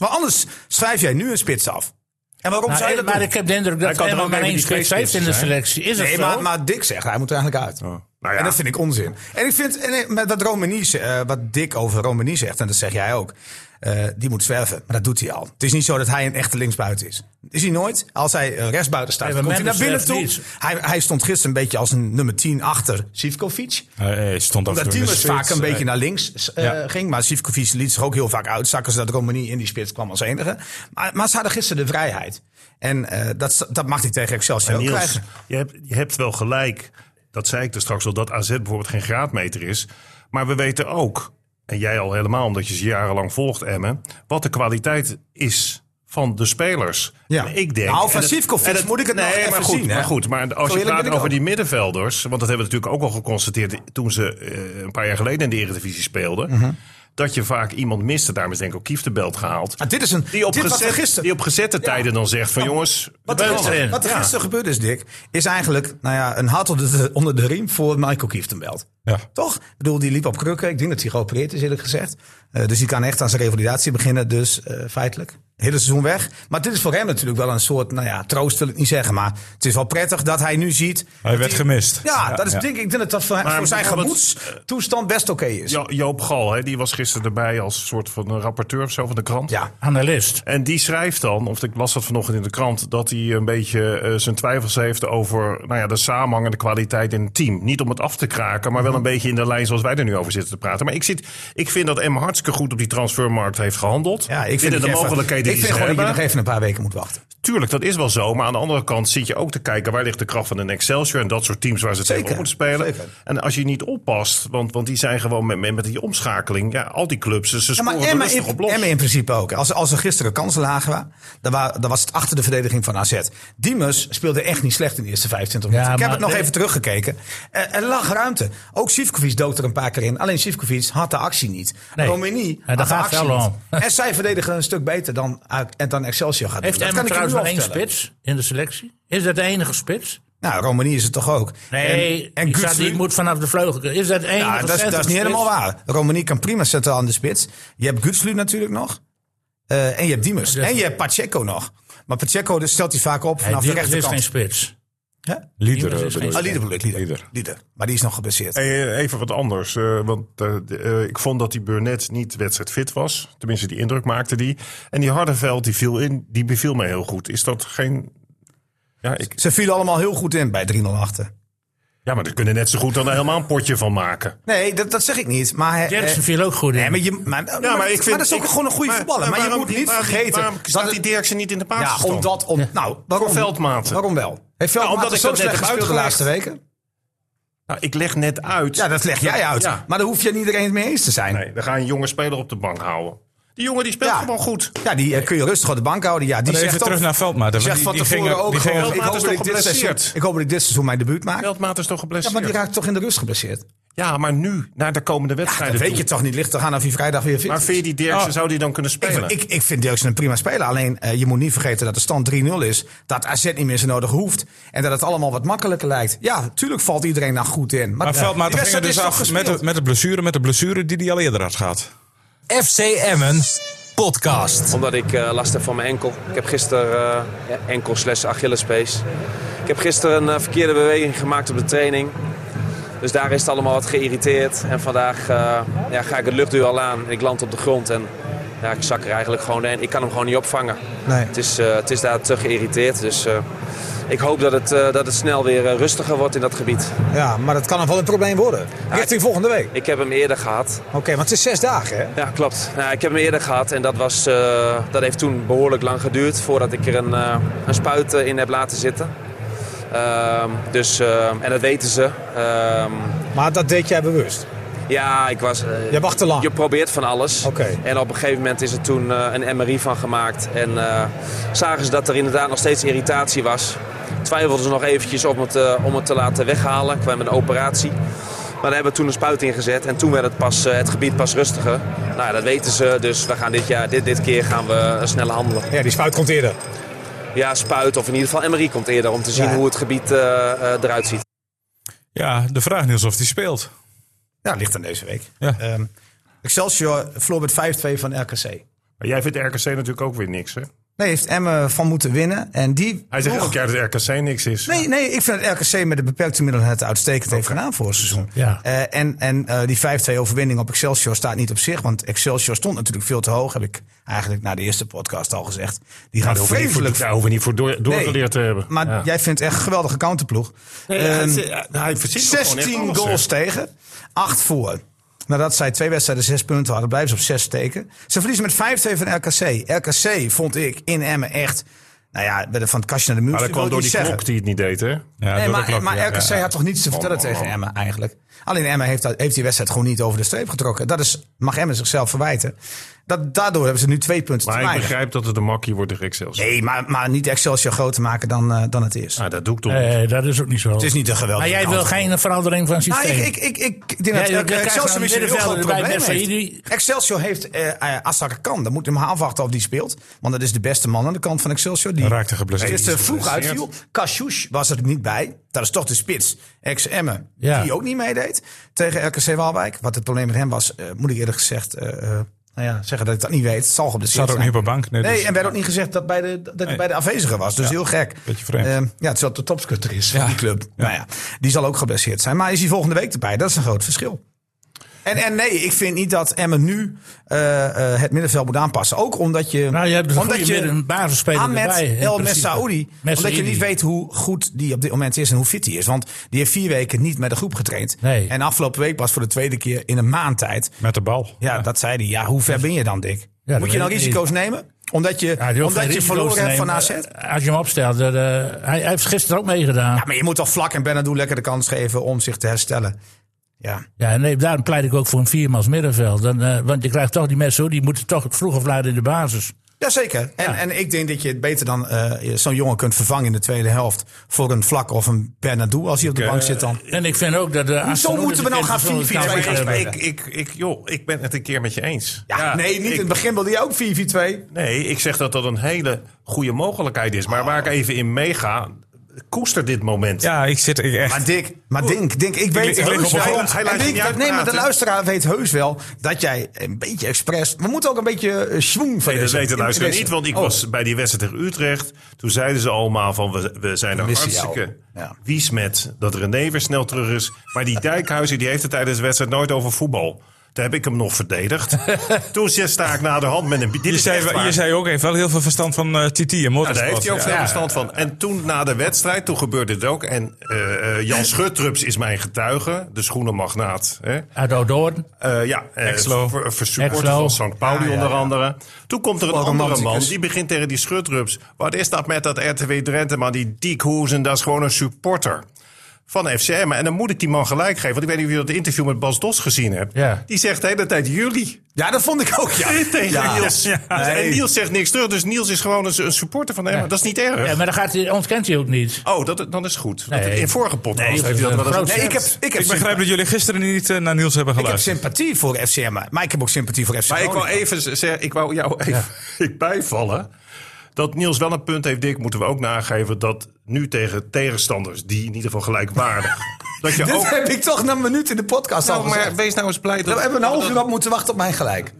Maar anders schrijf jij nu een spits af. En waarom
Nou,
zou je
eh,
dat
maar
doen?
ik heb de indruk dat
kan er
Emma
ook
maar
even
één
die twee
spits heeft in de
spitsen, hè?
selectie. Is dat
Nee,
zo?
maar, maar Dick zegt, hij moet er eigenlijk uit.
Nou ja.
En dat vind ik onzin. En ik vind, en ik- met wat, Romani, eh, wat Dick over Romani zegt, en dat zeg jij ook, eh, die moet zwerven. Maar dat doet hij al. Het is niet zo dat hij een echte linksbuiten is. Is hij nooit. Als hij eh, rechtsbuiten staat,
Nee,
dan
maar
komt hij naar binnen
Mendes
toe.
zwerft
Hij, hij stond gisteren een beetje als een nummer 10 achter Sivkovic.
Hij stond af en toe in
Dat
de
Diemers
spits.
vaak een beetje naar links eh,
Ja.
ging. Maar Sivkovic liet zich ook heel vaak uitzakken. Zodat Romani in die spits kwam als enige. Maar, maar ze hadden gisteren de vrijheid. En eh, dat, dat mag hij tegen Excelsior ook
Niels,
krijgen.
je hebt, je hebt wel gelijk. Dat zei ik er straks al, dat AZ bijvoorbeeld geen graadmeter is. Maar we weten ook, en jij al helemaal, omdat je ze jarenlang volgt, Emmen... wat de kwaliteit is van de spelers.
Ja.
En ik denk...
Nou,
en
van
dat-
Sivkovic
en dat-
moet ik het nog
nee,
even
maar goed,
zien, hè?
Maar goed, maar
Zo
als je
eerlijk
praat
ben ik
over
ook.
die middenvelders... want dat hebben we natuurlijk ook al geconstateerd... toen ze eh, een paar jaar geleden in de Eredivisie speelden...
Mhm.
dat je vaak iemand miste. Daarom is denk ik ook Kieft de belt gehaald.
Ah, dit is een,
Die op,
dit was er
gezet-
gisteren.
die op gezette tijden dan zegt van jongens...
Wat
we
er,
hebben
gisteren,
erin.
wat er
Ja.
gisteren gebeurd is, Dick, is eigenlijk nou ja, een hart onder de, onder de riem voor Michael Kieftenbelt.
Ja.
Toch? Ik bedoel, die liep op krukken. Ik denk dat hij geopereerd is, eerlijk gezegd. Eh, dus die kan echt aan zijn revalidatie beginnen, dus eh, feitelijk. Hele seizoen weg. Maar dit is voor hem natuurlijk wel een soort, nou ja, troost wil ik niet zeggen. Maar het is wel prettig dat hij nu ziet.
Hij werd gemist.
Ja, dat is,
ja.
Denk, ik denk dat dat voor, hem-
Maar
voor zijn
bijvoorbeeld-
gemoedstoestand best oké is.
Jo- Joop Gal, hè, die was gisteren erbij als soort van een rapporteur of zo van de krant.
ja.
Analist.
En die schrijft dan, of ik las dat vanochtend in de krant, dat hij een beetje eh, zijn twijfels heeft over nou ja, de samenhang en de kwaliteit in het team. Niet om het af te kraken,
Mhm.
maar wel een beetje in de lijn zoals wij er nu over zitten te praten. Maar ik, zit, ik vind dat Emma hartstikke goed op die transfermarkt heeft gehandeld.
Ja, ik vind,
Binnen
dat
de
je even-
mogelijkheden
ik
die
vind
ze
gewoon dat je nog
hebben.
even een paar weken moet wachten.
Tuurlijk, dat is wel zo. Maar aan de andere kant zit je ook te kijken waar ligt de kracht van een Excelsior en dat soort teams waar ze
Zeker,
tegen op moeten spelen.
zeker.
En als je niet oppast, want, want die zijn gewoon met, met, met die omschakeling, ja, al die clubs, ze ze
Ja, maar
scoren er
Emma
rustig
in,
op los.
Emma in principe ook. Als, als er gisteren kansen lagen, waren, dan, wa- dan was het achter de verdediging van AZ. Diemers speelde echt niet slecht in de eerste 25 minuten.
Ja,
Ik heb
maar-
het nog
nee.
even teruggekeken. Er, er lag ruimte. Ook Sivkovic dook er een paar keer in. Alleen Sivkovic had de actie niet.
Nee.
Romani
Ja, daar
had de
gaat
actie
het wel
niet.
om.
En zij verdedigen een stuk beter dan, en dan Excelsior gaat doen.
Heeft Emma
Dat kan ik je nu
trouwens nog
al
één
vertellen.
spits in de selectie? Is dat de enige spits?
Nou, Romani is het toch ook.
Nee,
en, en
ik zat,
Gutslu-
die moet vanaf de vleugel. Is dat de enige
Ja, dat, is- dat is niet
centrumspits?
helemaal waar. Romani kan prima zetten aan de spits. Je hebt Gutslu natuurlijk nog. Eh, en je hebt Diemers. En je hebt Pacheco nog. Maar Pacheco dus stelt hij vaak op
Nee,
vanaf de
Diemers is geen
rechterkant.
spits.
Hè?
Lieder.
Iemand
eh,
is
bedoel
geen-
je.
Ah, Lieder bedoel ik, Lieder.
Lieder.
Lieder. Maar die is nog geblesseerd.
Hey, eh, Even wat anders, eh, want eh, de, eh, ik vond dat die Burnett niet wedstrijdfit was. Tenminste, die indruk maakte die. En die Hardenveld, die viel in, die beviel mij heel goed. Is dat geen... Ja, ik,
Ze vielen allemaal heel goed in bij 3-0 achter.
ja maar daar kunnen net zo goed dan helemaal een potje van maken.
Nee, dat, dat zeg ik niet. Maar, hij-
Jensen
eh,
viel ook goed in.
nee, maar, je, maar, maar,
Ja,
dat- maar dat is ook
ik-
gewoon een goede
maar-
voetballer. Maar, je
waarom-
moet niet
waarom-
vergeten...
Waarom
dat
staat
het-
die Dirksen niet in de
ja,
basisstand?
omdat... Om, Nou, waarom,
Voor veldmaten.
Waarom wel? Heeft Veldmaten
omdat ik
zo
dat net
slecht
heb
gespeeld de
uitgelegd.
laatste weken?
Nou, ik leg net uit.
Ja, dat leg jij uit.
Ja.
Maar daar hoef je niet iedereen het mee eens te zijn.
Nee, dan ga je een jonge speler op de bank houden. Die jongen die speelt
Ja.
gewoon goed.
Ja, die eh, kun je rustig op de bank houden. Ja, die
Maar
zegt
even
ook-
terug naar Veldmaat.
Die zegt van tevoren ook gewoon,
gingen-
ik hoop,
Veldmaat
dat
is
ik
toch
dit
geblesseerd?
seizoen, ik hoop dat ik dit seizoen mijn debuut maak.
Veldmaat is toch
Ja,
geblesseerd?
maar
Ja,
die raakt toch in de rust geblesseerd.
maar nu, naar de komende
Ja,
wedstrijden
dat weet
toe.
je toch niet licht te gaan of je vrijdag weer fit
Maar
is.
vind je die Dirksen, zou die dan kunnen spelen?
Ik, ik, ik vind Dirksen een prima speler. Alleen eh, je moet niet vergeten dat de stand 3-0 is. Dat AZ niet meer zo nodig hoeft. En dat het allemaal wat makkelijker lijkt. Ja, tuurlijk valt iedereen daar goed in.
Maar
die
Veldmaat ging er
wedstrijd
dus
is toch
af met de,
gespeeld?
met, de blessure, met de blessure die hij al eerder had gehad.
FC Emmen podcast.
Omdat ik eh, last heb van mijn enkel. Ik heb gisteren eh, ja, enkel slash Achillespees. Ik heb gisteren een eh, verkeerde beweging gemaakt op de training. Dus daar is het allemaal wat geïrriteerd. En vandaag eh, ja, ga ik het luchtduel al aan. Ik land op de grond en ja, ik zak er eigenlijk gewoon in. Ik kan hem gewoon niet opvangen.
Nee.
Het, is, eh, het is daar te geïrriteerd. Dus eh, ik hoop dat het, eh, dat het snel weer eh, rustiger wordt in dat gebied.
Ja, maar dat kan nog wel een probleem worden. Richting volgende week.
Ik heb hem eerder gehad.
Oké, want het is zes dagen hè?
Ja, klopt. Nou, ik heb hem eerder gehad en dat, was, eh, dat heeft toen behoorlijk lang geduurd voordat ik er een, eh, een spuit eh, in heb laten zitten. Ehm, dus, eh, en dat weten ze. Ehm,
Maar dat deed jij bewust.
ja, ik was. eh,
Jij wacht te lang.
Je probeert van alles.
Oké.
En op een gegeven moment is er toen eh, een MRI van gemaakt. En eh, zagen ze dat er inderdaad nog steeds irritatie was. Twijfelden ze nog eventjes om het, eh, om het te laten weghalen. Kwam een operatie. Maar daar hebben we toen een spuit in gezet. En toen werd het, pas, eh, het gebied pas rustiger. Nou, ja, dat weten ze. Dus we gaan dit, jaar, dit, dit keer gaan we eh, sneller handelen.
Ja, die spuit komt eerder.
Ja, spuit of in ieder geval MRI komt eerder. Om te zien
Ja.
hoe het gebied eh, eh, eruit ziet.
Ja, de vraag is of hij speelt.
Ja, ligt aan deze week.
Ja.
Ehm, Excelsior verloor met 5-2 van RKC.
Maar jij vindt RKC natuurlijk ook weer niks, hè?
Nee, heeft Emmen eh, van moeten winnen. En die.
Hij zegt
ploeg-
elk jaar dat RKC niks is.
Nee, nee, ik vind het RKC met de beperkte middelen het uitstekend heeft gedaan voor het seizoen.
Ja.
Eh, en en eh, die 5-2 overwinning op Excelsior staat niet op zich. Want Excelsior stond natuurlijk veel te hoog, heb ik eigenlijk na de eerste podcast al gezegd. Die gaan
Daar hoeven we niet voor-
vreselijk.
daar hoeven we niet voor door, doorgeleerd
Nee,
te hebben.
Maar
Ja.
jij vindt echt een geweldige counterploeg. Ehm,
hij, hij verzint nog gewoon echt
16
alles,
goals
hè.
tegen, 8 voor. Nadat zij twee wedstrijden zes punten hadden, blijven ze op zes steken. Ze verliezen met 5-2 van RKC. RKC vond ik in Emmen echt, nou ja, werden van het kastje naar de muur.
Maar dat
Ik wil
kwam door die
het niet
klok die het niet deed, hè?
Ja,
Nee,
door de
maar,
klok,
maar
ja.
RKC
Ja.
had toch niets te vertellen
man,
tegen
man.
Emmen eigenlijk. Alleen Emmen heeft, dat- heeft die wedstrijd gewoon niet over de streep getrokken. Dat is, mag Emmen zichzelf verwijten. Dat, daardoor hebben ze nu twee punten te
Maar ik
weinig.
begrijp dat het een makkie wordt, de Excelsior.
Nee, maar, maar niet Excelsior groter maken dan, eh, dan het is.
Nou, dat doe ik toch.
Nee, Eh, dat is ook niet zo.
Het is niet een geweldige
maar jij wil
kans.
geen verandering van
Nou,
systeem.
ik, ik, ik, ik, ik denk
Ja, dan
dat
krijg je
Excelsior
een
misschien een heel groot
middenvelder erbij,
probleem
net
heeft.
Saidi.
Excelsior heeft eh eh, Assar Kan. Dan moet je hem afwachten of die speelt. Want dat is de beste man aan de kant van Excelsior. Die
Raakte geblesseerd.
gisteren
eh,
vroeg uitviel. Kashouch was er niet bij. Dat is toch de spits. Ex-Emmen.
Ja.
Die ook niet meedeed tegen RKC Waalwijk. Wat het probleem met hem was, eh, moet ik eerlijk gezegd eh, eh, nou ja, zeggen dat ik dat niet weet. Het zal geblesseerd
Zat ook niet
zijn.
op een bank. Nee,
Nee,
dus-
en werd ook niet gezegd dat, bij de, dat hij bij de afwezigen was. Dus heel gek.
Beetje vreemd.
Ehm, ja, het is wel de topschutter is van die club. Nou ja, die zal ook geblesseerd zijn. Maar is hij volgende week erbij? Dat is een groot verschil. En, en nee, ik vind niet dat Emmen nu eh, eh, het middenveld moet aanpassen. Ook omdat je...
nou, je hebt een
omdat
goede midden- een basisspeler
Ahmed
erbij. in
El
principe.
Messaoudi. Omdat je
Messaoudi.
niet weet hoe goed die op dit moment is en hoe fit hij is. Want die heeft vier weken niet met de groep getraind.
Nee.
En afgelopen week was voor de tweede keer in een maand tijd.
Met de bal.
Ja, dat zei hij. Ja, hoe ver ben je dan, Dick?
dat
moet je dan
weet ik
risico's nemen? Omdat je,
Ja, die hoeft geen
omdat je
risico's te
verloren hebt van
nemen.
AZ?
Als je hem opstelt, dat, eh, hij, hij heeft gisteren ook meegedaan.
Ja, maar je moet toch vlak en Benadou lekker de kans geven om zich te herstellen. Ja.
Ja, nee, daarom pleit ik ook voor een viermans middenveld. Dan, eh, want je krijgt toch die mensen, die moeten toch vroeg of laat in de basis.
Jazeker. En, en ik denk dat je het beter dan eh, zo'n jongen kunt vervangen in de tweede helft. voor een vlak of een Benadou als hij op de bank zit dan.
En ik vind ook dat... eh, Aston Oeler
moeten we nou
die
gaan
kent zo'n
4-4-2
kans
gaan
hebben.
spelen?
Ik, ik, ik, joh, ik ben het een keer met je eens.
Ja, nee, niet. in het begin wilde je ook 4-4-2.
Nee, ik zeg dat dat een hele goede mogelijkheid is. Maar waar ik even in meega, koester dit moment.
Ja, ik zit ik echt.
Maar Dick, maar Dink, Dink, ik weet
ik lig
heus
op de
wel-
grond.
Hij
en
laat je
Dink,
niet
dat- nee, maar de
uitpraten.
luisteraar weet heus wel dat jij een beetje expres. We moeten ook een beetje eh, schwung van
Nee, dat
deze-
weet de
in- in
luisteraar
deze-
niet, want ik
Oh,
was bij die wedstrijd tegen Utrecht. Toen zeiden ze allemaal van, we, we zijn er
missen jou.
hartstikke
Ja.
wies met dat René weer snel terug is. Maar die Dijkhuizen, die heeft het tijdens de wedstrijd nooit over voetbal. Toen heb ik hem nog
[laughs]
verdedigd. Toen sta ik na de hand met een... Dit
Je
is echt
zei,
waar.
je zei ook even wel heel veel verstand van eh Titi en
Nou,
Motorsport.
daar heeft hij ook veel verstand van. En toen na de wedstrijd, toen gebeurde het ook. En eh, eh,
[laughs]
Jan Schuttrups is mijn getuige, de schoenenmagnaat. Hè?
Uit Oudoorn.
Eh, ja, eh,
Exlo.
Ver, ver- supporter
Exlo.
van St. Pauli onder andere. Toen komt er een andere man,
romanticus.
die begint tegen die Schuttrups. Wat is dat met dat RTW Drenthe, maar die Diekhoezen, dat is gewoon een supporter. Van FCM. En dan moet ik die man gelijk geven. Want ik weet niet of je dat interview met Bas Dos gezien hebt.
Ja.
Die zegt de hele tijd jullie.
Ja, dat vond ik ook, ja.
[laughs] tegen
Ja.
Niels. Dus- En Niels zegt niks terug. Dus Niels is gewoon een, een supporter van hem. Maar Dat is niet erg.
Ja, maar dan gaat hij, ontkent hij ook niet.
Oh, dat, dan is het goed. Want
Nee.
In vorige podcast
Nee,
heeft u dat
dat
wel
is een groot
eens- Nee,
Nee, ik heb, ik heb,
Ik begrijp dat jullie gisteren niet eh, naar Niels hebben
ik heb
geluisterd.
sympathie voor FCM, maar ik heb ook sympathie voor FCM.
Maar ik wou even zeggen, ik wou jou even [laughs] bijvallen. Dat Niels wel een punt heeft, Dick, moeten we ook nageven. Dat nu tegen tegenstanders, die in ieder geval gelijkwaardig. dat je
Dit
ook.
heb ik toch na een minuut in de podcast al
Oh. Nou,
gezegd.
maar wees nou eens blij dat
we hebben een half uur op moeten wachten op mijn gelijk.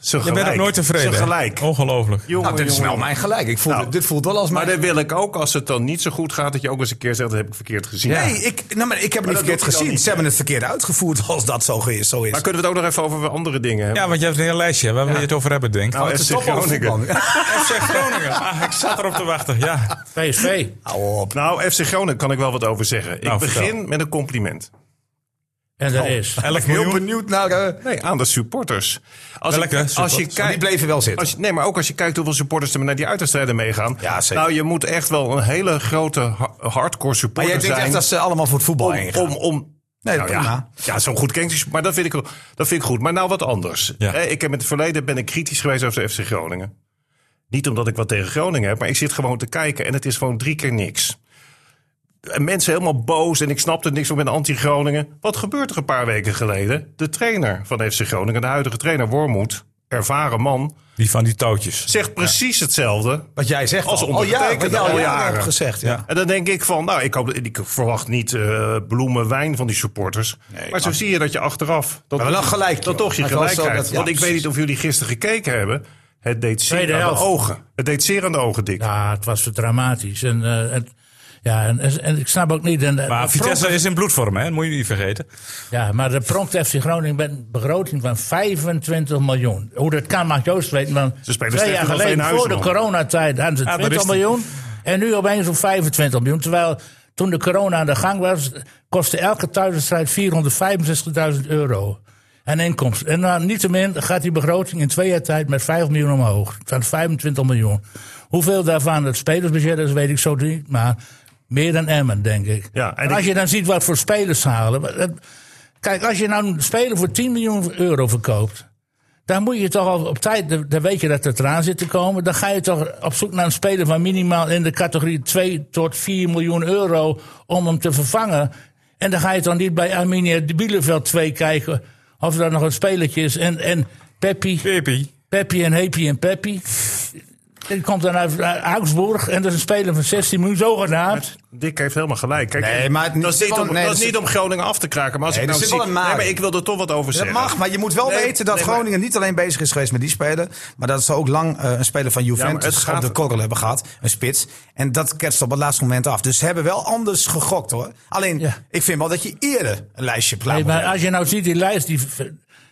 ze
Je
gelijk.
bent ook nooit tevreden. Oh.
Ze
hè?
gelijk.
Ongelooflijk.
Jongen,
Nou, dit is
jongen.
wel mijn gelijk. Ik voel,
Nou.
dit voelt wel als
Maar
mijn...
dan wil ik ook, als het dan niet zo goed gaat, dat je ook eens een keer zegt: dat heb ik verkeerd gezien.
Nee, ik, nou, maar
dat
ik heb het niet verkeerd
doe ik dan
gezien.
niet.
Ze hebben het verkeerd uitgevoerd als dat zo is. Zo is.
Maar kunnen we het ook nog even over andere dingen hebben?
Ja, want je hebt een heel lijstje. hè, Waar wil je het over hebben, denk ik?
Nou,
Het is
FC
toch wel een
Groningen.
voetbal.
[laughs]
FC Groningen. Ah, ik zat erop te wachten. Ja.
PSV.
Hou op.
Nou, FC Groningen kan ik wel wat over zeggen.
Nou,
ik begin
vertel.
met een compliment.
En
Oh.
dat is.
11
Heel
miljoen.
benieuwd naar... eh,
Nee, aan de supporters. Als
Welke
ik- Als je
supporters?
kijkt,
die bleven wel zitten.
als je- nee, maar ook als je kijkt hoeveel supporters er naar die uitwedstrijden meegaan.
Ja, zeker.
Nou, je moet echt wel een hele grote ha- hardcore
Maar
supporter
jij denkt echt
zijn.
dat ze allemaal voor het voetbal heen
om,
gaan.
om, om-
Nee,
nou
prima.
ja, ja, zo goed kent hij. Maar dat vind, ik, dat vind ik goed. Maar nou wat anders.
Ja.
Hè, Ik heb in het verleden ben ik kritisch geweest over FC Groningen. Niet omdat ik wat tegen Groningen heb, maar ik zit gewoon te kijken en het is gewoon drie keer niks. En mensen helemaal boos en ik snapte niks van met anti-Groningen. Wat gebeurt er een paar weken geleden? De trainer van FC Groningen, de huidige trainer Wormoed, ervaren man,
Die van die touwtjes.
zegt precies hetzelfde.
Wat jij zegt
Als
al. Oh
ondertekende
ja, wat jij al
al
jaren
jaren.
hebt gezegd. Ja.
En dan denk ik van, nou, ik, hoop, ik verwacht niet eh, bloemen, wijn van die supporters. maar zo zie je dat je achteraf... Dat,
Maar wel gelijk,
dat
joh.
toch je
Maar het was
gelijk
zo
krijgt.
dat- ja,
Want ik weet
precies.
niet of jullie gisteren gekeken hebben. Het deed zeer
Tweede
aan
helft.
de ogen. Het deed zeer aan de ogen, Dick.
Ja, het was dramatisch. En, eh, het- ja, en, en, en ik snap ook niet... En,
Maar
dat
Vitesse
pronkt-
is in bloedvorm, hè? Dat moet je niet vergeten.
ja, maar de pronkt FC Groningen met een begroting van 25 miljoen. Hoe dat kan mag Joost weten, want
Ze spelen
twee
slechter
jaar
dan
geleden,
Veenhuizen
voor de
nog.
coronatijd, hadden ze
Ja, daar
20
is die.
miljoen. En nu opeens om 25 miljoen. Terwijl toen de corona aan de gang was, kostte elke thuiswedstrijd 465.000 euro. aan inkomsten. En nou, niettemin gaat die begroting in twee jaar tijd met 5 miljoen omhoog. Van 25 miljoen. Hoeveel daarvan het spelersbudget is, weet ik zo niet. Maar meer dan Emmen, denk ik.
Ja, en
en als
ik-
je dan ziet wat voor spelers ze halen. wat- dat- Kijk, als je nou een speler voor 10 miljoen euro verkoopt. Dan moet je toch al op tijd, dan- dan weet je dat het eraan zit te komen. Dan ga je toch op zoek naar een speler van minimaal in de categorie 2 tot 4 miljoen euro om hem te vervangen. En dan ga je toch niet bij Arminia de Bielefeld 2 kijken of er nog een spelertje is. En, en Peppi,
Pepi.
Peppi en Hepi en Peppi. Die komt dan uit uit Augsburg en dat is een speler van 16 miljoen zogenaamd.
Dick heeft helemaal gelijk. Kijk,
Nee, maar het-
dat is niet om,
nee,
dat
er
is
zit-
niet om Groningen af te kraken. Maar, als
Nee,
ik
er
nou
zit wel
zie-
een maar
nee, maar
in.
ik wil er toch wat over
Dat
zeggen.
mag, maar je moet wel
Nee,
weten dat
nee, maar-
Groningen niet alleen bezig is geweest met die speler. Maar dat ze ook lang eh, een speler van
Ja, maar
Juventus
het gaat-
op de korrel hebben gehad. Een spits. En dat ketst op het laatste moment af. Dus ze hebben wel anders gegokt hoor. Alleen,
Ja.
ik vind wel dat je eerder een lijstje plaatst.
Nee, maar als je nou ziet die lijst, die,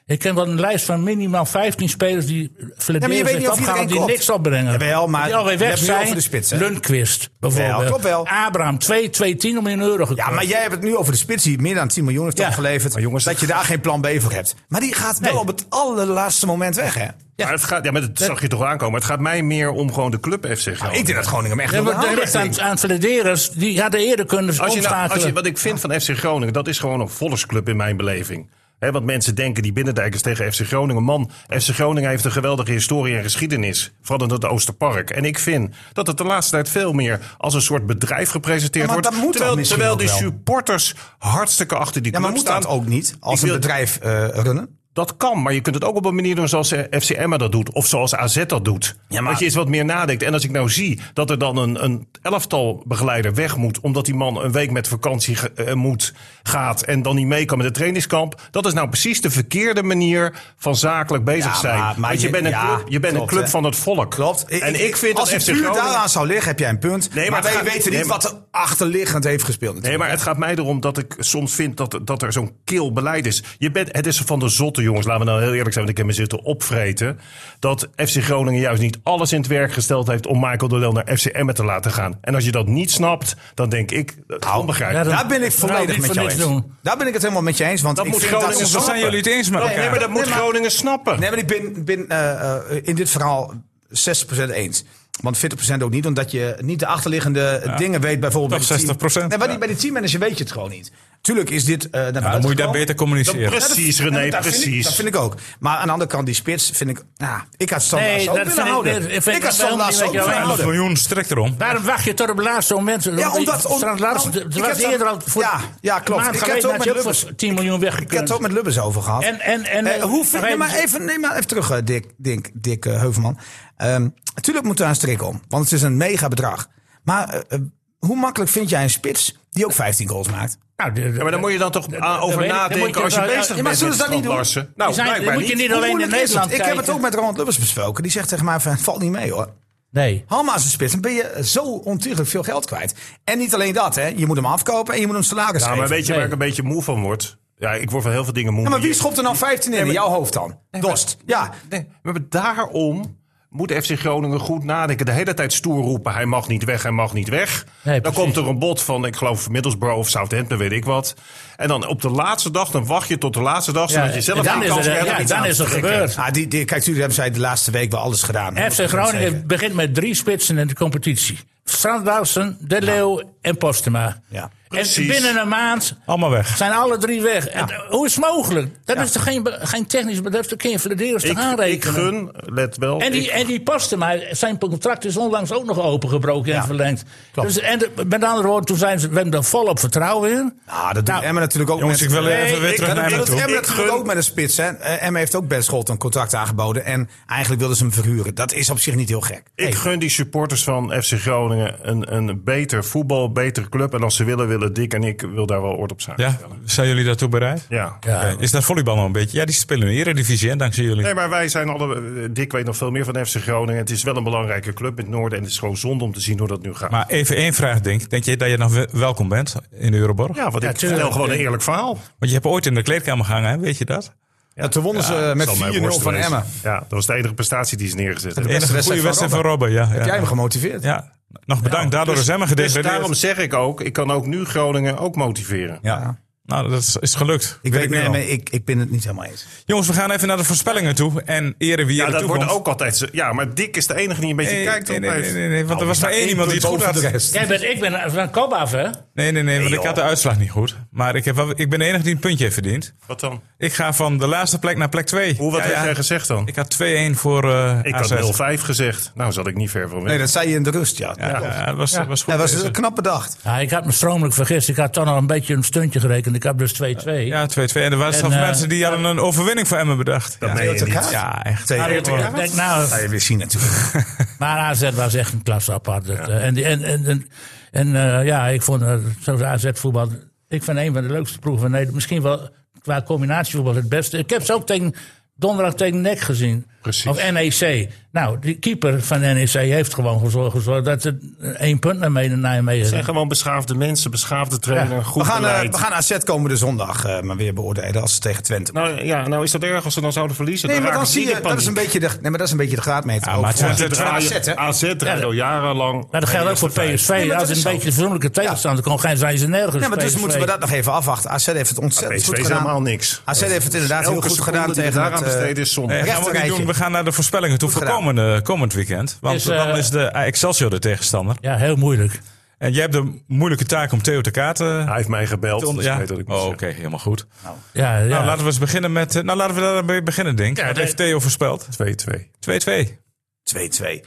ik ken wel een lijst van minimaal 15 spelers die
Ja, maar je
Fladeers
weet
heeft
niet of
opgehaald
iedereen
die
klopt.
niks opbrengen.
Jawel, maar
die alweer
je
weg
hebt nu
zijn.
over de spits, hè?
Lundqvist
Ja,
bijvoorbeeld.
klopt wel.
Abraham, 2, 2, 10 miljoen euro gekost.
Ja, maar jij hebt het nu over de spits die meer dan 10 miljoen heeft
Ja.
opgeleverd. dat je daar geen plan B voor hebt. Maar die gaat wel
Nee.
op het allerlaatste moment weg, hè?
Maar het gaat, ja, maar dat zag je toch aankomen. Het gaat mij meer om gewoon de club FC Groningen.
ik denk dat Groningen hem echt
Ja,
wil
maar dat ligt aan, aan Fladeers, die hadden eerder kunnen
dus
als je nou-
omschakelen.
als je, wat ik vind van FC Groningen, dat is gewoon een volksclub in mijn beleving. Hè, want mensen denken die binnendijkers tegen FC Groningen. Man, FC Groningen heeft een geweldige historie en geschiedenis. Vooral in het Oosterpark. En ik vind dat het de laatste tijd veel meer als een soort bedrijf gepresenteerd
Ja, maar
wordt.
dat moet dan
terwijl
misschien
terwijl
ook
de
wel.
supporters hartstikke achter die
Ja,
club
maar moet
staan.
dat ook niet als
Ik wil-
een bedrijf eh, runnen?
Dat kan, maar je kunt het ook op een manier doen zoals eh, FC Emma dat doet. Of zoals AZ dat doet.
Ja, maar-
Dat je eens wat meer nadenkt. En als ik nou zie dat er dan een, een elftal begeleider weg moet... omdat die man een week met vakantie ge- eh, moet, gaat... en dan niet mee kan met het trainingskamp... dat is nou precies de verkeerde manier van zakelijk bezig
Ja,
zijn.
maar- maar
Want je,
je-
bent een
ja,
club, je bent
klopt,
een club
hè.
van het volk.
Klopt.
En ik vind
als
dat
het
FC
puur
Groningen...
daaraan zou liggen, heb jij een punt.
Nee, maar
maar,
het
wij
gaat-
weten niet
nee, maar-
wat er achterliggend heeft gespeeld.
Nee,
natuurlijk.
maar het gaat mij erom dat ik soms vind dat, dat er zo'n kil beleid is. Je bent, het is van de zotte jongens, laten we nou heel eerlijk zijn, want ik heb me zitten opvreten. Dat FC Groningen juist niet alles in het werk gesteld heeft om Michael de Leeuw naar FC Emmen te laten gaan. En als je dat niet snapt, dan denk ik, eh, onbegrijpelijk.
Ja,
Daar ben ik
Nou,
volledig
niet
met
voor
jou
niks
eens.
doen.
Daar ben ik het helemaal met je eens. Want
Dat
ik
moet
vind dat
Groningen
ze
Dan
snappen.
zijn jullie het eens met elkaar.
nee, maar dat moet Groningen snappen.
Nee, maar ik ben, ben eh, eh, in dit verhaal 60% eens. Want 40% ook niet, omdat je niet de achterliggende dingen weet. Bijvoorbeeld
Toch
bij die
60%,
Nee, maar die,
ja.
bij die teammanager weet je het gewoon niet. Tuurlijk is dit... eh naar
Ah, dan
buiten
moet je daar
gekomen.
beter communiceren.
Precies,
Ja, maar
René,
dat vind ik-
precies.
dat vind ik ook. Maar aan de andere kant, die spits vind ik... Ah, ik had standaard
Nee,
zo
dat
willen
vind ik-
houden.
dat vind ik
had
helemaal
standaard
niet
zo
met jou
willen
eens.
houden.
100 miljoen strikt erom.
Waarom wacht je tot op het laatste moment?
Ja, omdat- om-
het laatste,
nou,
het
ik
was
heb dat-
eerder al voor
ja, ja, klopt.
Een
Ik
maand
heb
geleden
het ook
had je
met
ook voor 10 miljoen
Ik heb
weggekund.
het ook met Lubbers over gehad.
En- en- en,
Eh,
eh,
hoeveel,
wij-
nee, maar even, nee, maar even terug, eh, Dick, Dick, Dick eh, Heuvelman. Ehm, tuurlijk moet daar een strik om, want het is een mega bedrag. Maar eh, eh, hoe makkelijk vind jij een spits die ook 15 goals maakt?
Nou, de- de-
Ja, maar dan moet je dan toch aan-
weet
over
ik. Dan moet
nadenken
je
als je
wel- ja,
bezig bent
maar
met
zullen ze dat
Strand
niet doen?
Larsen.
Die
Nou,
zijn-
blijkbaar
dan moet je
niet.
niet
Hoe
alleen in
moeilijk is
Nederland
het? Ik heb
kijken.
het ook met Ronald Lubbers besproken. Die zegt tegen mij van, valt niet mee hoor.
Nee.
Haal maar eens een spits, dan ben je zo ontiegelijk veel geld kwijt. En niet alleen dat, hè. je moet hem afkopen en je moet hem salaris
Ja,
geven.
maar weet je
Nee.
waar ik een beetje moe van word? Ja, ik word van heel veel dingen moe.
Ja, maar
maar
wie schopt er nou 15 in, in jouw hoofd dan? Dost. Ja,
Nee, maar daarom moet FC Groningen goed nadenken. De hele tijd stoer roepen, hij mag niet weg, hij mag niet weg.
Nee,
dan
precies.
komt er een bod van, ik geloof Middlesbrough of Southampton, weet ik wat. En dan op de laatste dag, dan wacht je tot de laatste dag... zodat je zelf
en dan
geen
is
kans
het-
meer hebt
ja,
om iets
dan
aan
is
te
het
trekken.
gebeurd.
Ah, die, die, kijk, jullie hebben zij de laatste week wel alles gedaan.
FC Groningen begint met drie spitsen in de competitie. Strand Larsen, De Leeuw en Postema.
Ja,
en
precies.
binnen een maand
Allemaal weg.
zijn alle drie weg. En, eh, hoe is het mogelijk? Dat is toch geen, be- geen technisch bedrijf? Dat kun je Vladeers toch
Ik,
aanrekenen?
ik gun, let wel...
En
ik-
die, en die Postema, zijn contract is onlangs ook nog opengebroken en
Ja,
verlengd. Dus, en de- met andere woorden, toen zijn ze, we hebben er volop vertrouwen in.
Ah, dat doet
Nou,
Emma natuurlijk ook.
Jongens,
met-
ik wil
Nee,
even weer
ik-
terug
dat
naar
doet
Emmen toe.
Emma
Ik
natuurlijk
gun-
ook met een spits. Hè. Eh, Emma heeft ook Ben Scholt een contract aangeboden. En eigenlijk wilden ze hem verhuren. Dat is op zich niet heel gek.
Ik gun die supporters van FC Groningen een, een beter voetbal, betere club. En als ze willen, willen Dick en ik wil daar wel oord op zijn.
Ja, zijn jullie daartoe bereid?
ja.
Oké, Is dat volleybal nog een beetje? Ja, die spelen in de Eredivisie, hè, dankzij jullie.
Nee, maar wij zijn alle. eh, Dick weet nog veel meer van FC Groningen. Het is wel een belangrijke club in het noorden. En het is gewoon zonde om te zien hoe dat nu gaat.
Maar even één vraag, denk. Denk je dat je nog we- welkom bent in de Euroborg?
ja, want ik
tuurlijk.
vertel gewoon een eerlijk verhaal.
Want je hebt ooit in de kleedkamer gehangen, hè? weet je dat?
Ja, toen wonnen ze
Ja,
met
zal mij
4-0
worst
van
wezen.
Emma.
Ja, dat was de enige prestatie die ze neergezet
De
hebben.
enige
wedstrijd
goede
van
wedstrijd van Robben, ja.
Heb jij hem
ja.
gemotiveerd?
ja. Nog bedankt, daardoor is Emmen
Dus
gedegradeerd.
daarom zeg ik ook, ik kan ook nu Groningen ook motiveren.
Ja. Nou, dat is, is gelukt.
Ik, weet,
nu
nee,
al.
maar ik, ik ben het niet helemaal eens.
Jongens, we gaan even naar de voorspellingen toe. En eren wie
Ja,
er
dat
toe
wordt
komt.
ook altijd zo. Ja, maar Dick is de enige die een beetje
Nee,
kijkt op Nou,
nee, nee,
heeft.
nee, nee, nee, want er was maar één iemand die het
punt
goed
boven de
had.
rest.
Jij bent, ik ben van kop af, hè?
Nee, nee, nee, want
Nee,
ik had de
joh.
uitslag niet goed. Maar ik, heb wel, ik ben de enige die een puntje heeft verdiend.
Wat dan?
Ik ga van de laatste plek naar plek 2.
Hoe, wat heeft jij gezegd dan?
Ik had 2-1 voor eh
Ik
AZ.
had 05 gezegd. Nou, zat ik niet ver van weg.
Nee, dat zei je in de rust, ja.
Ja,
Ja,
ja, dat was, was goed.
dat was
deze.
een knappe dag.
Ja, ik had me stromelijk vergist. Ik had toch nog een beetje een stuntje gerekend. Ik had dus 2-2.
Ja, 2-2. En er waren
En,
zelfs
eh,
mensen die hadden een overwinning voor Emmen bedacht.
dat
ja.
meen je
Tegen
niet.
elkaar?
Ja, echt.
Tegen
Maar ik
elkaar?
denk, nou,
Ga je weer zien natuurlijk.
Maar AZ was echt een klasse apart. Dat, eh, En, die- en, en, en, en, eh, ja, ik vond eh, zoals AZ voetbal... Ik vind een van de leukste ploegen van Nederland. Misschien wel qua combinatievoetbal het beste. Ik heb ze ook tegen, donderdag tegen NEC gezien.
Precies.
Of NEC. Nou, die keeper van NEC heeft gewoon gezorgd, gezorgd dat er één punt naar mee naar Nijmegen
Het
ging.
zijn gewoon beschaafde mensen, beschaafde trainer, goed
We gaan, eh,
beleid.
we gaan AZ komende zondag eh, maar weer beoordelen als ze tegen Twente.
Nou ja, nou is dat erg als ze dan zouden verliezen.
Nee, maar dan
raken ze
zie
niet
je,
in
dat is
paniek.
een beetje de, nee, maar dat is een beetje de graadmeter.
Ja, maar
ook voor-
Twente-
voor
Draaien- Ah,
AZ, hè?
AZ draait al jarenlang.
Maar dat geldt ook
eerste
voor
vijf.
PSV.
maar dat
Als
is
het
zo.
een beetje de verzoenlijke tegenstander kon zijn, zijn ze nergens.
Nee, maar dus
PSV.
moeten we dat nog even afwachten. AZ heeft het ontzettend
PSV
goed
is
gedaan.
helemaal niks.
AZ heeft het inderdaad heel
Elke
goed
seconde
gedaan
die we
tegen
daaraan
het... eh,
besteden is zonde.
Nee, gaan we, ook niet
Rechterrijtje.
doen. we gaan naar de voorspellingen toe voor
gedaan.
komende, komend weekend. Want
Is, eh,
dan is de Excelsior de tegenstander.
Ja, heel moeilijk.
En jij hebt de moeilijke taak om Theo te kaarten.
Hij heeft mij gebeld,
te on-
dus ik weet wat ik moet
Oh, oké,
zeggen.
helemaal goed.
Ja, ja.
Nou, laten we eens beginnen met. eh, Nou, laten we daarmee beginnen, denk ik. Wat
nee.
heeft Theo voorspeld?
2-2.
2-2.
[laughs]
2-2.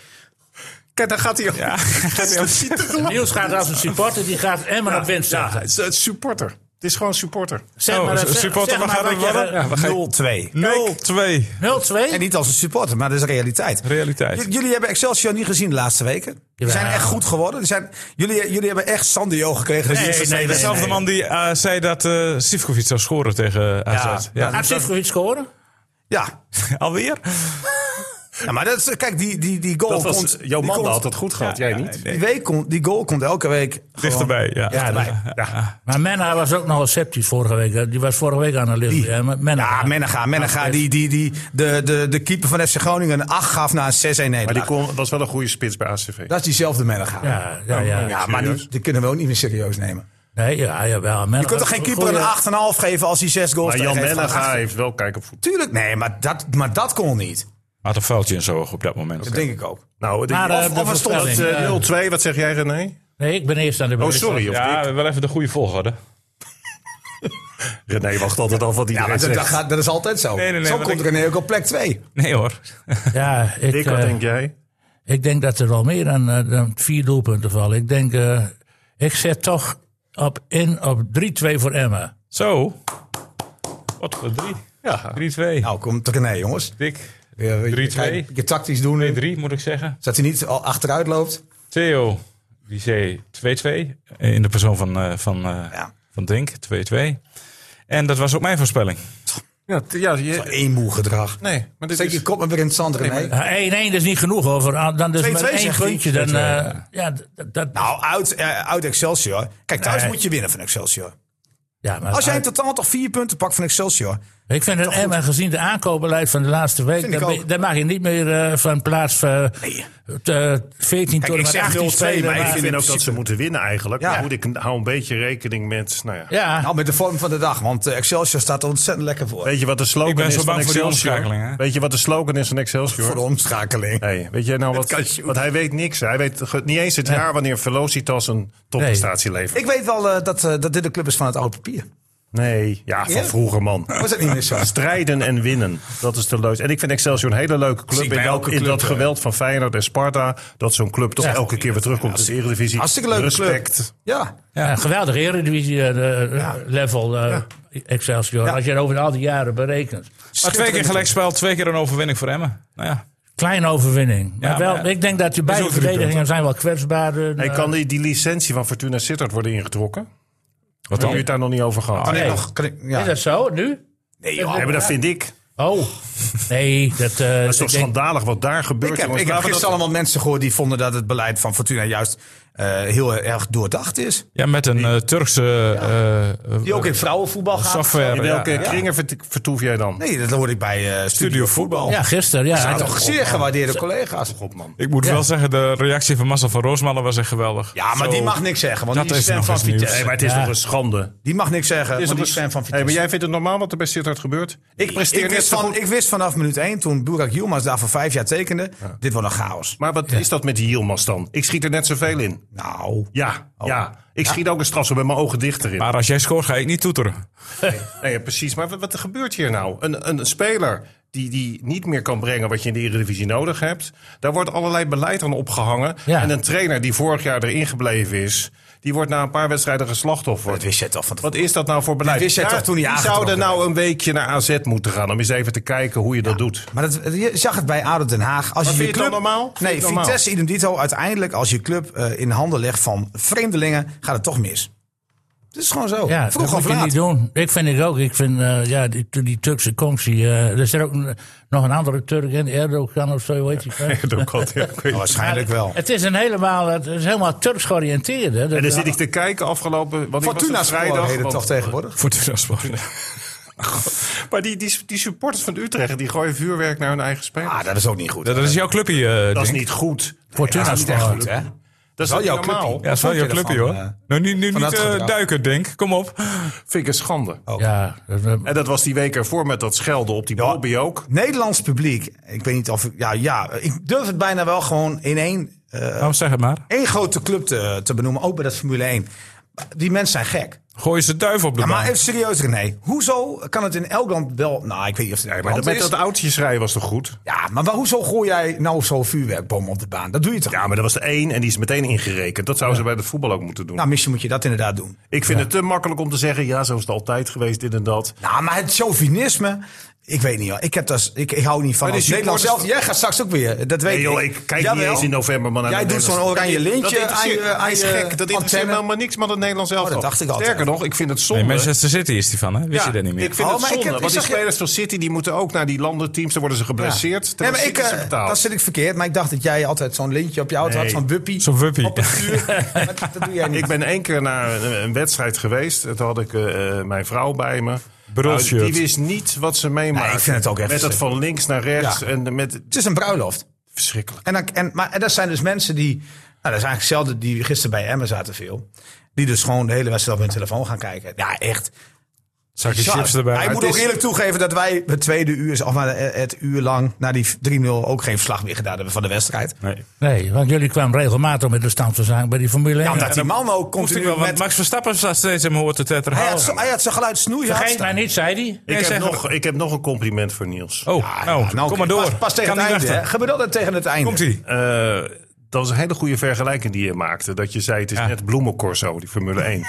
Kijk, daar gaat hij op. [laughs] Ja,
Niels gaat als een supporter, die gaat Emmen op winst
Ja,
zetten.
het is een supporter. Het is gewoon een supporter.
Zeg
Oh,
maar, dat-
een
zeg-
supporter,
zeg
we
maar
gaan
wat
het
je-
worden. Ja, we gaan-
0-2.
0-2.
0-2?
En niet als een supporter, maar dat is realiteit.
Realiteit.
J- jullie hebben Excelsior niet gezien de laatste weken. Die zijn
Jawel.
echt goed geworden. Die zijn, jullie, jullie hebben echt Sandio gekregen. Dat
Nee,
jullie-
nee, nee.
Dezelfde man die eh, zei dat eh Sivkovic zou scoren tegen AZ. Ja.
Ja.
Gaat Sivkovic scoren?
Ja.
[laughs] Alweer?
ja, maar dat is, kijk, die, die, die goal
Dat
komt...
was, jouw
die
man
komt-
had dat goed gehad, jij niet.
Die, week komt, die goal komt elke week gewoon
Dichterbij, ja.
dichterbij.
Maar Menna was ook nogal sceptisch vorige week. hè. Die was vorige week aan de licht.
Wie?
Ja, maar Menna.
Ja, Menega, Menega,
Ah,
die, die, die, de, de, de keeper van FC Groningen een 8 gaf na een 6-1
Maar die
nederlaag.
kon, was wel een goede spits bij ACV.
Dat is diezelfde Menega.
Ja, ja, ja.
Oh, Ja, maar
serieus?
die, die kunnen we ook niet meer serieus nemen.
Nee, ja, jawel. Menna,
Je kunt toch geen keeper een 8,5 geven als hij 6 goals
maar Jan
tegen heeft van
Menega
8?
heeft wel kijk op voetbal.
Tuurlijk, nee, maar dat, maar dat kon niet.
Had een foutje in zo op dat moment.
Dat denk ik ook.
Nou, de,
Maar, eh,
of,
de
of het stond
voorspelling,
eh,
eh,
0-2, wat zeg jij René?
Nee, ik ben eerst aan de
Oh,
beurt.
sorry. Of
Ja,
Dick?
wel even de goede volgorde.
René wacht altijd al wat
Ja,
iedereen
maar dat, dat,
zegt.
gaat- dat is altijd zo.
Nee, nee, nee,
zo
want
komt
ik-
René ook op plek 2.
Nee hoor.
[laughs]
Ja, ik,
Dick, wat
eh,
denk jij?
ik denk dat er wel meer dan, eh, dan vier doelpunten vallen. Ik denk, eh, ik zet toch op in op 3-2 voor Emmen.
Zo. Wat voor drie?
Ja.
3-2.
Nou, komt René, jongens. eh,
Dik.
Ja, je-
3-2.
Je, je tactisch doen.
3 moet ik zeggen.
Dat hij niet al achteruit loopt.
Theo, die zei 2-2. In de persoon van, eh, van, eh,
Ja.
van Dink, 2-2. En dat was ook mijn voorspelling.
Ja, t- ja, je-
Eenmoe gedrag.
nee, dus- maar dit
Steek je
is...
kop maar weer in het zand, René.
Eh, 1-1 is niet genoeg hoor. Voor- Dan dus
2-2
met één
zegt hij.
puntje. Dan, eh, ja, d- d- dat,
Nou, uit, eh, uit Excelsior. Kijk, thuis
Nee.
moet je winnen van Excelsior.
ja, maar
Als jij in totaal toch vier punten pakt van Excelsior.
Ik vind het Emma gezien de aankoopbeleid van de laatste week.
Vind ik
Daar, ben-
ook.
daar mag je niet meer eh, van plaats eh, t- eh, 14 tot
ik
en met
zeg
18
0-2,
spelen.
maar
Maar
maar-
ik vind ook dat ze moeten winnen eigenlijk.
Ja.
Maar goed, ik hou een beetje rekening met... Nou ja.
ja,
Nou, met de vorm van de dag. Want eh, Excelsior staat er ontzettend lekker voor.
Weet je wat de slogan
Ik ben
is
zo
van
bang voor die
Excelsior?
omschakeling, hè?
Weet je wat de slogan is van Excelsior?
Voor de omschakeling.
Hey, weet jij nou wat? Want hij weet niks. Hij weet ge- niet eens het jaar wanneer Velocitas een topprestatie levert.
Ik weet wel eh, dat, eh, dat dit de club is van het oud papier.
Nee, ja, van
Ja?
vroeger man.
Was het niet meer zo?
Strijden en winnen, dat is de leus. En ik vind Excelsior een hele leuke club.
Zie ik
In,
bij
dat,
elke
in
club,
dat
eh.
geweld van Feyenoord en Sparta, dat zo'n club toch elke keer weer terugkomt in de Eredivisie.
Hartstikke leuke club.
Respect.
Ja.
ja, geweldig eh, Eredivisie-level eh, Excelsior. Als je het over al die jaren berekent.
Maar twee keer gelijkspel, twee keer een overwinning voor Emmen. Nou ja.
Kleine overwinning. Maar
Ja,
wel,
maar-
ik denk dat die beide
ook drie
verdedigingen
punten.
zijn wel kwetsbaar. eh,
Hey,
eh,
kan die, die licentie van Fortuna Sittard worden ingetrokken? Hebben
Wat
jullie het daar nog niet over gehad?
Ah,
nee,
nee.
Nog, kan ik-
Is
ja.
dat zo, nu?
maar dat vind ik.
Oh, nee. Dat, eh,
Dat is toch
ik denk-
schandalig wat daar gebeurt.
Ik heb,
jongens.
ik heb
Laten we
gisteren
dat-
allemaal mensen gehoord die vonden dat het beleid van Fortuna juist eh, eh, heel erg doordacht is.
Ja, met een eh, Turkse. eh, eh,
Die ook in vrouwenvoetbal gaat.
software.
In
ja.
welke kringen vert- vertoef jij dan?
Nee, dat hoorde ik bij eh, Studio
Studio
Voetbal.
Voetbal.
Ja, gisteren. Ja,
Ja,
Hij-
toch zeer gewaardeerde collega's.
Op man.
Ik moet wel zeggen, de reactie van Marcel van Roosmalen was echt geweldig.
Ja, maar
Zo.
die mag niks zeggen, want
Dat
die is
is
fan
nog
van
eens nieuws.
Nee,
Vitesse.
maar het is
Ja.
nog een schande.
Die mag niks zeggen, want die is fan van
dus- Hey, maar
Vitesse.
jij vindt het normaal wat er bij Sittard gebeurt? Ik presteer
Ik
net
wist,
zo
van,
goed.
ik wist vanaf minuut 1, toen Burak Yilmaz daar voor vijf jaar tekende, dit wordt een chaos.
Maar wat is dat met die Yilmaz dan? Ik schiet er net zoveel in.
Nou,
Ja, Oh. ja. Ik schiet ook een straf zo met mijn ogen dichter in.
Maar als jij scoort, ga ik niet toeteren.
Nee, ja, precies. Maar wat, wat er gebeurt hier nou? Een, een speler die, die niet meer kan brengen wat je in de Eredivisie nodig hebt. Daar wordt allerlei beleid aan opgehangen.
Ja.
En een trainer die vorig jaar erin gebleven is... die wordt na een paar wedstrijden
dat
geslachtoffer.
wist je toch van
Wat is dat nou voor beleid?
Dit wist jij
Daar-
toch toen hij
die
aangetrokken
zouden nou een weekje naar AZ moeten gaan... om eens even te kijken hoe je dat [laughs] doet.
Maar dat, je zag het bij ADO Den Haag. Als
Maar
je
vind je het dan normaal? Vind je
Nee,
het normaal?
Vitesse idem dito. Uiteindelijk, als je club eh, in handen legt van vreemdelingen, gaat het toch mis. Het is gewoon zo.
Ja,
Vroeg
dat
of
moet je
laat.
niet doen. Ik vind het ook. Ik vind eh, ja, die, die Turkse conctie. eh, er zit ook een- nog een andere Turk in, Erdogan of zo, weet je.
[laughs] Oh,
Waarschijnlijk wel.
Het is een helemaal, het is helemaal Turks georiënteerd. Hè. Dat-
En dan zit ik te kijken afgelopen... Want
Fortuna Sport heet het toch tegenwoordig?
Voor
[laughs]
de
Maar die, die, die supporters van Utrecht... die gooien vuurwerk naar hun eigen speler.
Ah, dat is ook niet goed.
Dat, dat is jouw clubje. eh,
dat is
Dink.
niet goed.
Fortuna
dat is niet echt
Sport.
goed, hè?
Dat is
Wel
wel
jouw
jouw normaal.
clubpie.
Ja, dat is wel
Wat
jouw
vond je
clubje hoor.
ervan, eh,
nou, nu nu
van
niet
dat
eh,
gedrag? Eh,
duiken, Denk. Kom op.
Vind ik een schande.
Ja, dat- eh, dat-
En dat was die week ervoor met dat schelden op die Bobby ook.
Nederlands publiek. Ik weet niet of ik. Ja, ja ik durf het bijna wel gewoon in één, eh,
Nou, zeg het maar.
één grote club te, te benoemen. Ook bij dat Formule 1. Die mensen zijn gek.
Gooi ze duif op de
Ja,
baan.
maar even serieus, René. Hoezo kan het in elk land wel. Nou, ik weet niet of het in elk
Maar
land
dat met
is.
dat oudje schrijven was toch goed?
Ja, maar waar- hoezo gooi jij nou zo'n vuurwerkbom op de baan? Dat doe je toch?
Ja, maar dat was de één en die is meteen ingerekend. Dat zouden ze bij het voetbal ook moeten doen.
Nou, misschien moet je dat inderdaad doen.
ik vind het te makkelijk om te zeggen, ja, zo is het altijd geweest, dit en dat.
Nou, maar het chauvinisme, ik weet niet hoor. Ik, heb dat, ik, ik hou niet van
Maar
als
de
Nederland zelf.
supporters-
Jij gaat straks ook weer, dat weet
Nee, joh,
ik.
ik kijk niet
Jawel.
eens in november, maar naar
Jij
de
doet zo'n
Nederlandse-
oranje lintje
dat
aan je,
interesseert-
aan
hij
je
is gek, dat interesseert me
antenne.
helemaal niks maar het Nederlands zelf.
dacht ik altijd.
Sterker nog, Oh, ik vind het zonde.
Nee, Manchester City is die van, hè? Wist
Ja,
je dat niet meer?
Ik vind
Oh,
het
maar ik
zonde,
heb- ik
want die
zag je-
spelers van City die moeten ook naar die landenteams. Dan worden ze geblesseerd.
Nee,
terwijl
maar ik,
City ze
eh,
betaalt.
dat zit ik verkeerd. Maar ik dacht dat jij altijd zo'n lintje op je auto had,
Nee.
zo'n wuppie.
Zo'n wuppie.
Op het
[laughs]
vuur. Maar dat, dat doe jij niet.
Ik ben één keer naar een, een wedstrijd geweest. Toen had ik eh, eh, mijn vrouw bij me. Nou,
Brulshirt.
die wist niet wat ze meemaakte.
Nee, ik vind het ook echt
Met dat van links naar rechts.
Ja.
En met,
Het is een bruiloft.
verschrikkelijk.
En, dan, en, maar en dat zijn dus mensen die. Nou, dat is eigenlijk zelden die gisteren bij Emmen zaten veel. Die dus gewoon de hele wedstrijd op hun telefoon gaan kijken. Ja, echt.
Zakje
bizar.
chips erbij.
Hij
Maar
moet
het
ook
is-
eerlijk toegeven dat wij het tweede uur, of maar eh, het uur lang na die 3-0 ook geen verslag meer gedaan hebben van de wedstrijd.
Nee.
nee, want jullie kwamen regelmatig met de stand te zijn bij die Formule 1.
Ja, omdat die man ook
Moest ik
continu
wel, want
met...
Max Verstappen staat steeds in mijn hoort te tetteren.
Hij had, zo, hij had zijn geluid snoeihard
Vergeet
staan.
mij niet, zei hij.
Nee,
Ik, heb
zeg maar.
nog, ik heb nog een compliment voor Niels.
Oh,
Ja,
nou,
ja, nou,
kom maar door.
Pas, pas tegen
kan
het
niet
einde. hè.
wachten.
Gebeurt altijd tegen het einde.
Komt-ie.
Eh, dat was een hele goede vergelijking die je maakte. Dat je zei, het is net bloemencorso, die Formule
[laughs]
1.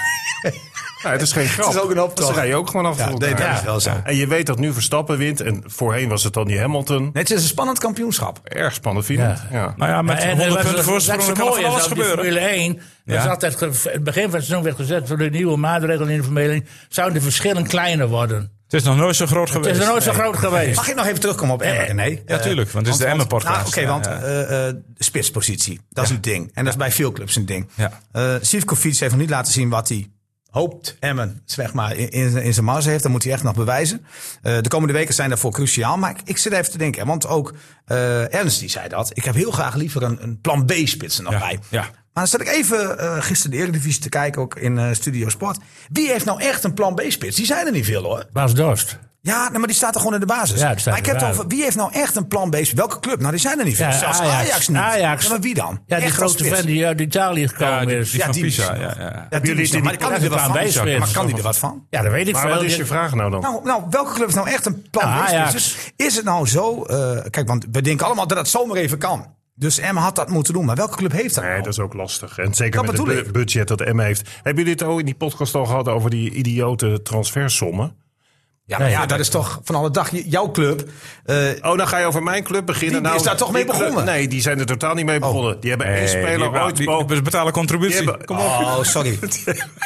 Ja, het is geen grap.
Het is ook een optocht.
Dat rij je ook gewoon af en
Ja,
toe
nee, dat
elkaar.
is wel zo.
En je weet dat nu Verstappen wint. En voorheen was het dan die Hamilton.
Nee, het is een spannend kampioenschap.
Erg spannend, vind je
Ja.
het? Ja.
Nou ja, met
en
100
dat-
punten voorsprong
dat
kan er
mooie
van
is
alles
dat die
gebeuren.
Formule 1, dat
Ja.
is altijd ge- het begin van het seizoen werd gezet voor de nieuwe maatregelen in de Formule 1, zouden de verschillen kleiner worden.
Het is nog nooit zo groot
Het
geweest.
is er nooit zo groot geweest.
Mag ik nog even terugkomen op Emmen? Nee.
Eh, Ja, tuurlijk, want het is de Emmen-podcast.
Nou, Oké,
Ja,
want
ja.
eh, eh, de spitspositie, dat is een ding. En dat is bij veel clubs een ding.
Ja.
Eh, Sivkovic heeft nog niet laten zien wat hij hoopt Emmen zeg maar, in, in, in zijn mars heeft. Dat moet hij echt nog bewijzen. Eh, de komende weken zijn daarvoor cruciaal. Maar ik, ik zit even te denken, hè, want ook eh, Ernst die zei dat. Ik heb heel graag liever een, een plan B-spits er nog
Ja,
bij.
ja.
Maar dan zat ik even eh, gisteren de Eredivisie te kijken, ook in eh, Studio Sport. Wie heeft nou echt een plan B-spits? Die zijn er niet veel hoor.
Bas Dorst.
Ja, nee, maar die staat er gewoon in de basis.
Ja, die staat
maar ik
in
heb
de
het
basis.
over, wie heeft nou echt een plan B? Welke club? Nou, die zijn er niet veel.
Ja,
Zelfs Ajax,
Ajax.
niet.
Ajax.
Ja, maar wie dan?
Ja, die
Echt als
grote
spits.
fan die uit Italië
Ja,
gekomen
die,
is.
die
Ja,
van
die
Pisa.
is-
Ja, ja.
Ja, die
Jullie-
is nog- maar
die-
kan hij er wat
plan
van?
B spits.
Maar kan die er wat van?
Ja, dat weet ik
Maar
veel.
wat is je vraag nou dan?
Nou, nou, welke club is nou echt een plan
Ja,
B?
Ajax.
Dus is het nou zo... eh, kijk, want we denken allemaal dat het zomaar even kan. Dus M had dat moeten doen. Maar welke club heeft dat
Nee,
nou?
dat is ook lastig. En zeker
Dat
met
bedoel
het
ik.
bu- budget dat M heeft. Hebben jullie het ook in die podcast al gehad over die idiote transfersommen?
Ja, maar
Nee,
ja,
dat-
dat is toch van alle dag. J- Jouw club. eh,
Oh, dan ga je over mijn club beginnen. Nou,
Die- die is daar toch mee
die-
begonnen? Oh.
Nee, die zijn er totaal niet mee begonnen. Die hebben één
Nee, die
speler
hebben-
ooit
die-
boven.
we betalen contributie.
die hebben-
Kom op.
oh,
[laughs]
sorry.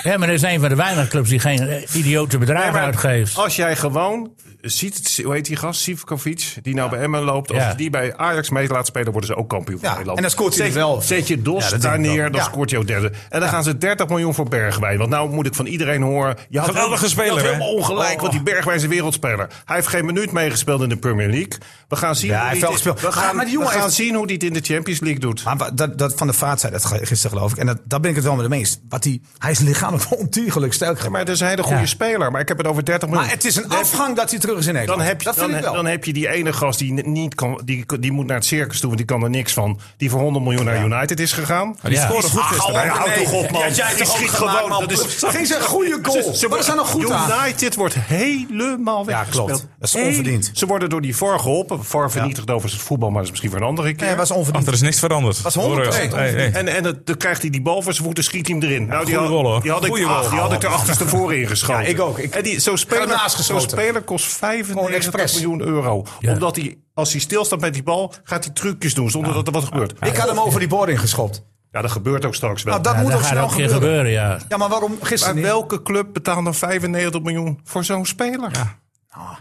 Ja, maar dat is een van de weinige clubs die geen eh, idiote
Nee,
bedragen
maar Oh.
uitgeeft.
Als jij gewoon ziet, hoe heet die gast, Sivkovic, die nou bij Emmen loopt. Als
Ja.
je die bij Ajax mee laat spelen, worden ze ook kampioen van
Ja,
Nederland.
en dan scoort hij
zet,
er wel.
Zet je
Ja,
Dos
dat
daar
denk ik
neer,
wel.
dan
Ja.
scoort jouw derde. En dan gaan ze 30 miljoen voor Bergwijn. Want nou moet ik van iedereen horen... Je had
Geweldige
je
speler,
had
hè?
helemaal
Oh.
ongelijk, want die Bergwijn is een wereldspeler. Hij heeft geen minuut meegespeeld in de Premier League. We gaan zien,
Ja,
hoe,
hij
die
heeft
het-
wel
we
gespeeld.
gaan,
Maar- maar die
we
jongen
gaan
heeft-
zien hoe die het in de Champions League doet.
Maar wa- dat, dat van de vaart zei dat ge- gisteren, geloof ik. En dat, daar ben ik het wel met hem eens. Wat die, hij is [laughs] lichamelijk ontiegelijk sterk
Ja,
geworden.
maar dat is een hele goede
Ja.
speler. Maar ik heb het over 30 miljoen.
Maar het is een
Dan-
afgang dat hij terug is in Nederland.
Dan heb, je,
dat vind
dan,
ik wel.
dan heb je die ene gast die n- niet kan, die, die moet naar het circus toe, want die kan er niks van. Die voor 100 miljoen naar United Ah, is gegaan.
Die
Ja.
scoorde goed gisteren.
Ja, houd toch op, man. Die schiet gewoon. Dat is,
Geen zijn goede goal.
ze- ze
maar dat zijn nog goed
United
aan.
wordt helemaal weggespeeld.
klopt. Dat is onverdiend.
Hey, Ze worden door die VAR geholpen. VAR vernietigt overigens het voetbal, maar dat is misschien voor een andere keer.
Nee, was
Ach,
onverdiend.
er is niks veranderd.
Dat is 100%
Hoor, eh, eh, eh.
En, en het- dan krijgt hij die bal voor zijn voeten, schiet hij hem erin. nou, die,
goeie
had-
rol, hoor.
die had ik,
Goeie rol.
die had ik er achterstevoren ingeschoten.
Ja, ik ook. Ik-
en die, zo'n
hem
speler,
naast
zo'n
geschoten.
speler kost 95
expres.
miljoen euro.
Ja.
Omdat hij, als hij stilstaat met die bal, gaat hij trucjes doen zonder dat er wat gebeurt.
Ik had hem over die boor ingeschopt.
Ja, dat gebeurt ook straks wel.
Nou, dat
Ja,
moet
dat
ook
gaat
snel
ook een keer
gebeuren.
gebeuren, ja.
Ja, maar waarom gisteren
maar
niet?
welke club betaalt dan 95 miljoen voor zo'n speler?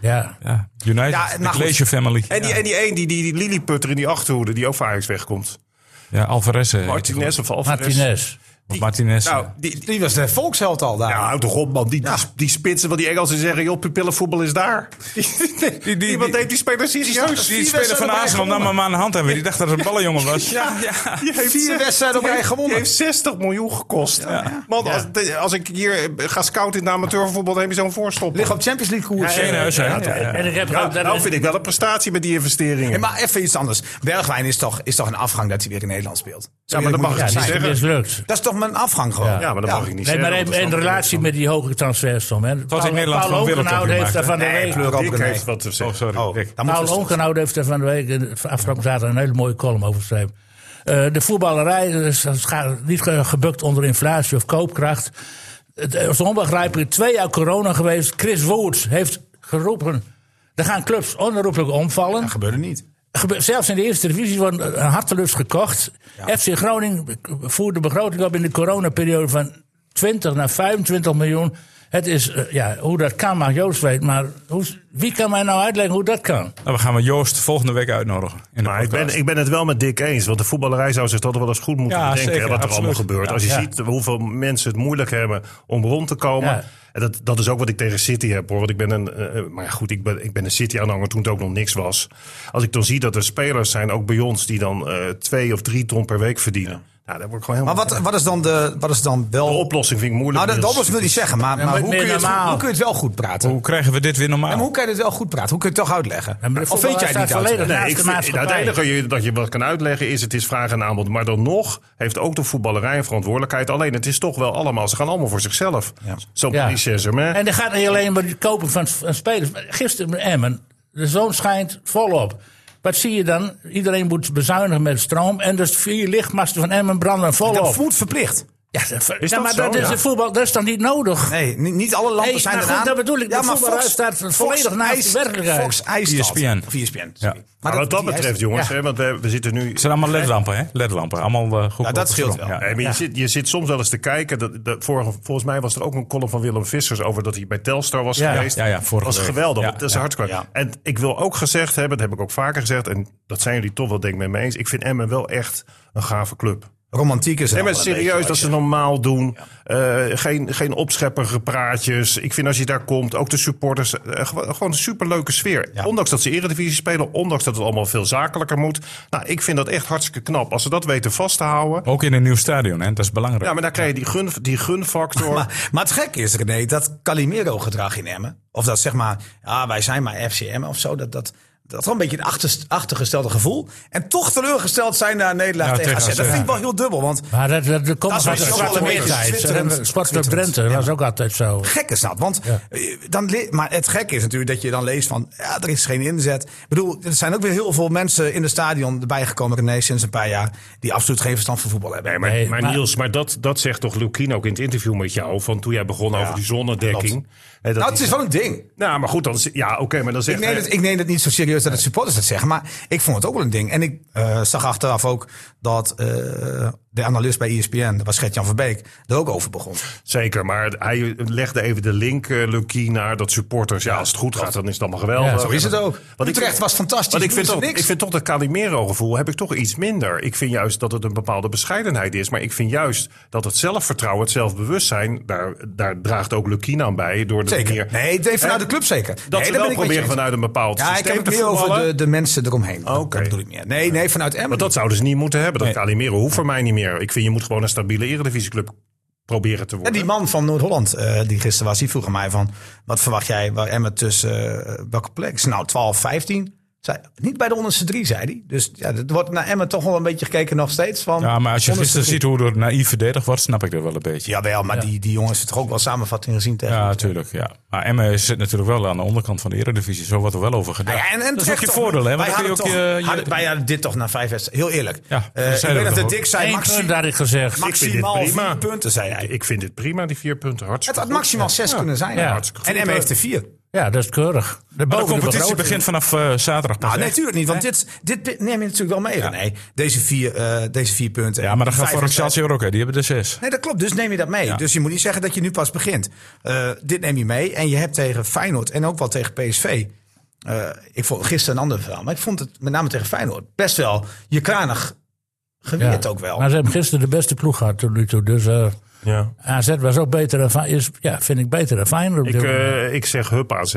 ja.
Ja, United,
Ja,
de
maar goed.
Glacier Family.
En, die, en die een, die, die, die Lilliputter in die achterhoede, die ook voor Ajax wegkomt.
Ja, Alvarez. eh,
Martinez of Alvarez.
Martinez.
Of Martinez.
Nou, die,
Die was de volksheld al daar.
Nou, hou toch op, man. Die, die, die spitsen van die Engelsen zeggen: joh, pupillenvoetbal is daar.
die- die-
[laughs] Iemand neemt die speler serieus.
Die speler van Azenland nam hem aan de hand en weer. Die dacht dat het een ballenjongen was. Ja, ja.
Die heeft
Vier
zes-
wedstrijden op
die
rij
heeft-
gewonnen.
Die heeft 60 miljoen gekost. Man, als, de- als ik hier eh, ga scouten in de amateurvoetbal, dan heb je zo'n voorstop.
Liggen op Champions League koers.
Geen huis, hè?
En ik heb
Ja,
ook- dat-
nou vind ik wel een prestatie met die investeringen.
Hey, maar even iets anders. Bergwijn is toch, is toch een afgang dat hij weer in Nederland speelt? Zo
Ja, maar dat
eerlijk
mag
moet
ik
het
ja,
niet
zijn.
die
zeggen.
mislukt.
Dat is toch mijn afgang gewoon?
ja, maar dat mag ik niet
Nee, maar
zeggen.
in,
want dat
in
snap ik
relatie met die hoge transfersom. hè. Paul-
Nederland
Paul
gewoon wereldkampioen
Onkenhout heeft
maakt, hè?
daar van de
niet.
week...
Fleur
ook
Dick
een-
heeft wat Nou, te
Oh,
zeggen.
sorry. Dick.
Dan dus- moeten
Paul
we stoppen.
Onkenhout heeft er van de week, eh, afgelopen zaterdag, een hele mooie column over geschreven. Eh, de voetballerij is scha- niet ge- gebukt onder inflatie of koopkracht. Het eh, is onbegrijpelijk. Twee jaar corona geweest. Chris Woerts heeft geroepen. Er gaan clubs onherroepelijk omvallen.
Dat gebeurde niet.
Gebe- Zelfs in de eerste divisie wordt een hartelust gekocht. FC Groningen voert de begroting op in de coronaperiode van 20 naar 25 miljoen. Het is, eh, ja, hoe dat kan mag Joost weten. Maar hoe, wie kan mij nou uitleggen hoe dat kan?
Nou, we gaan we Joost volgende week uitnodigen. In de
Maar ik
podcast.
ben, ik ben het wel met Dick eens. Want de voetballerij zou zich dat wel eens goed moeten
Ja,
bedenken.
zeker,
hè, wat er
absoluut.
allemaal gebeurt. Als je
ja.
ziet hoeveel mensen het moeilijk hebben om rond te komen.
Ja.
En dat, dat is ook wat ik tegen City heb hoor. Want ik ben een. eh, eh, maar goed, ik ben, ik ben een City-aanhanger toen het ook nog niks was. Als ik dan zie dat er spelers zijn, ook bij ons, die dan eh, twee of drie ton per week verdienen. Nou, dat wordt gewoon
Maar
helemaal.
wat, wat, is dan de, wat is dan wel...
de dus. oplossing vind ik moeilijk.
nou, dat, dat
Niels.
was wil niet zeggen, maar, maar
maar
hoe,
meer
kun je het,
normaal.
hoe kun je het wel goed praten?
Hoe krijgen we dit weer
En
normaal?
hoe kan je het wel goed praten? Hoe kun je het toch uitleggen?
Oh. maar de
of weet
voetballer
jij het niet
staat volledig
uitleggen?
naast
Nee, ik
de
vind,
maatschappij.
het enige je- dat je wat kan uitleggen is: het is vraag en aanbod. Maar dan nog heeft ook de voetballerij een verantwoordelijkheid. Alleen het is toch wel allemaal, ze gaan allemaal voor zichzelf. Zo'n
Ja.
Paris Saint-Germain.
En dan gaat niet alleen maar het kopen van, van spelers. Maar Gisteren met Emmen, de zon schijnt volop. Wat zie je dan? Iedereen moet bezuinigen met stroom. En dus vier lichtmasten van Emmen branden volop.
Dat moet verplicht.
Ja, dat,
Is
ja,
dat
maar
zo?
dat is
Ja.
de voetbal, dat is dan niet nodig?
Nee, niet, niet alle lampen
Nee,
zijn
maar
er
goed,
aan.
dat bedoel ik. De voetballerij staat volledig naast de werkelijkheid. E
Fox eist
ESPN.
dat. E Of ESPN,
Ja.
sorry. Maar
Maar wat dat
die eist-
betreft, jongens,
ja.
hè, want we, we zitten nu.
Het zijn allemaal ledlampen, hè? Ledlampen. Allemaal eh, goed.
Ja, dat scheelt wel.
Nee, maar je, zit, je zit soms wel eens te kijken. Dat, dat, vorige, volgens mij was er ook een column van Willem Vissers over dat hij bij Telstar was
Ja,
geweest.
ja, ja, vorige
was
week.
geweldig.
Ja,
dat is
ja,
hartstikke.
ja.
En ik wil ook gezegd hebben, dat heb ik ook vaker gezegd, en dat zijn jullie toch wel denk ik met me eens. Ik vind Emmen wel echt een gave club.
Romantiek is het
Nee, maar
allemaal een
serieus
beetje,
dat ze normaal doen. Eh, geen, geen opschepperige praatjes. Ik vind als je daar komt, ook de supporters, eh, gewo- gewoon een superleuke sfeer. Ondanks dat ze eredivisie spelen, ondanks dat het allemaal veel zakelijker moet. Nou, ik vind dat echt hartstikke knap. Als ze dat weten vast te houden.
Ook in een nieuw stadion, hè? Dat is belangrijk.
Ja, maar dan krijg je die, gun, die gunfactor.
[laughs] Maar, maar het gekke is, René, dat Calimero-gedrag in Emmen. Of dat zeg maar, ah, wij zijn maar FCM of zo. Dat, dat, Dat wel een beetje een achter, achtergestelde gevoel. En toch teleurgesteld zijn naar Nederland
Ja,
tegen
tegen
AZ. Dat
AZ,
vind ik
ja.
wel heel dubbel. Want
Maar dat, dat, dat komt
Dat is
uit de
misschien ook wel
zwarte
een beetje
tijd.
zwitterend-
Sportclub Drenthe dat was ook altijd zo.
gek is dat. Want, eh, dan le- maar het gekke is natuurlijk dat je dan leest van... Ja, er is geen inzet. Ik bedoel, er zijn ook weer heel veel mensen in de stadion erbij gekomen... René, sinds een paar jaar... die absoluut geen verstand van voetbal hebben.
Nee, maar,
Nee,
maar,
maar-
Niels, maar dat, dat zegt toch Lukien ook in het interview met jou... van toen jij begon over die zonnedekking. Hè, dat die-
nou, het is wel een ding.
nou, maar goed, dan, is- ja, oké, maar dan
Ik
zegt
neem,
hij-
het, ik neem het niet zo serieus dat het supporters dat zeggen. Maar ik vond het ook wel een ding. En ik eh, zag achteraf ook dat eh, de analist bij E ESPN... dat was Gert-Jan Verbeek, er ook over begon.
Zeker, maar hij legde even de link, eh Lucky, naar dat supporters. Ja, als het goed gaat, dan is het allemaal geweldig.
Ja,
Zo is het ook.
Want ik-
Utrecht was fantastisch.
Want ik vind,
doen ze
toch,
niks.
ik vind toch dat Calimero-gevoel heb ik toch iets minder. Ik vind juist dat het een bepaalde bescheidenheid is. Maar ik vind juist dat het zelfvertrouwen, het zelfbewustzijn... daar, daar draagt ook Lucky aan bij door de
Zeker. Eh,
manier...
Nee, het heeft vanuit
Hè?
de club zeker.
Dat
nee,
ze
daar
wel
ben ik met je
proberen
eens.
vanuit een bepaald
Ja, ik
systeem
heb het
te
meer over
voetballen.
de, de mensen eromheen.
Oh,
Dat-
Oké.
Dat bedoel ik meer. Nee, nee, vanuit Emmen.
Want dat zouden ze niet moeten hebben. Dat
Nee.
Calimero hoeft voor mij niet meer. Ik vind, je moet gewoon een stabiele eredivisieclub proberen te
Ja,
worden.
die man van Noord-Holland, eh, die gisteren was, die vroeg aan mij van... wat verwacht jij waar Emmen tussen eh, welke plek? Ik zei, nou, 12, 15. Zei, niet bij de onderste drie, zei hij. Dus ja, er wordt naar Emmen toch wel een beetje gekeken nog steeds. Van
Ja, maar als je
onderste
gisteren
drie.
ziet hoe er naïef verdedigd wordt, snap ik dat wel een beetje.
Jawel, maar Die, die jongens hebben toch ook wel samenvatting gezien tegen...
Ja, natuurlijk. Ja. Maar Emmen zit natuurlijk wel aan de onderkant van de Eredivisie. Zo wordt er wel over gedaan.
Nou ja, en,
dat
en
is ook
terecht
je
toch.
voordeel, hè?
Wij
Want dan kun je ook eh,
hadden, toch,
je, je-
hadden- wij hadden dit toch na vijf wedstrijden. Heel eerlijk.
Ja, dat
Eh, ik
zeiden
weet
we toch
dat de
ook.
dik zei,
Eén
maxi-
punt had ik gezegd.
maximaal
prima.
vier punten, zei hij.
Ik vind dit prima, die vier punten.
Het
Hartstikke
had
goed.
maximaal zes kunnen zijn.
Ja.
Hartstikke
En
goed.
M heeft er vier.
Ja, dat is keurig. De
Maar de
boven de
competitie
begroting.
begint vanaf eh, zaterdag pas.
Nou,
hè?
nee, natuurlijk niet. Want dit, dit neem je natuurlijk wel mee, René. Deze vier, eh, deze vier punten.
ja, maar dat
Vijf
gaat voor
wedstrijden.
Excelsior ook, hè? Die hebben er zes.
Nee, dat klopt. Dus neem je dat mee. Dus je moet niet zeggen dat je nu pas begint. Eh, dit neem je mee. En je hebt tegen Feyenoord en ook wel tegen PSV. eh, ik vond gisteren een ander verhaal. Maar ik vond het met name tegen Feyenoord best wel je kranig geweerd
Ja.
ook wel.
Maar ze hebben gisteren de beste ploeg gehad tot nu toe. Dus eh,
Ja.
AZ was ook beter dan Fey- is, Ja, vind ik beter dan Feyenoord. op
Ik,
dit moment.
eh, ik zeg hup AZ.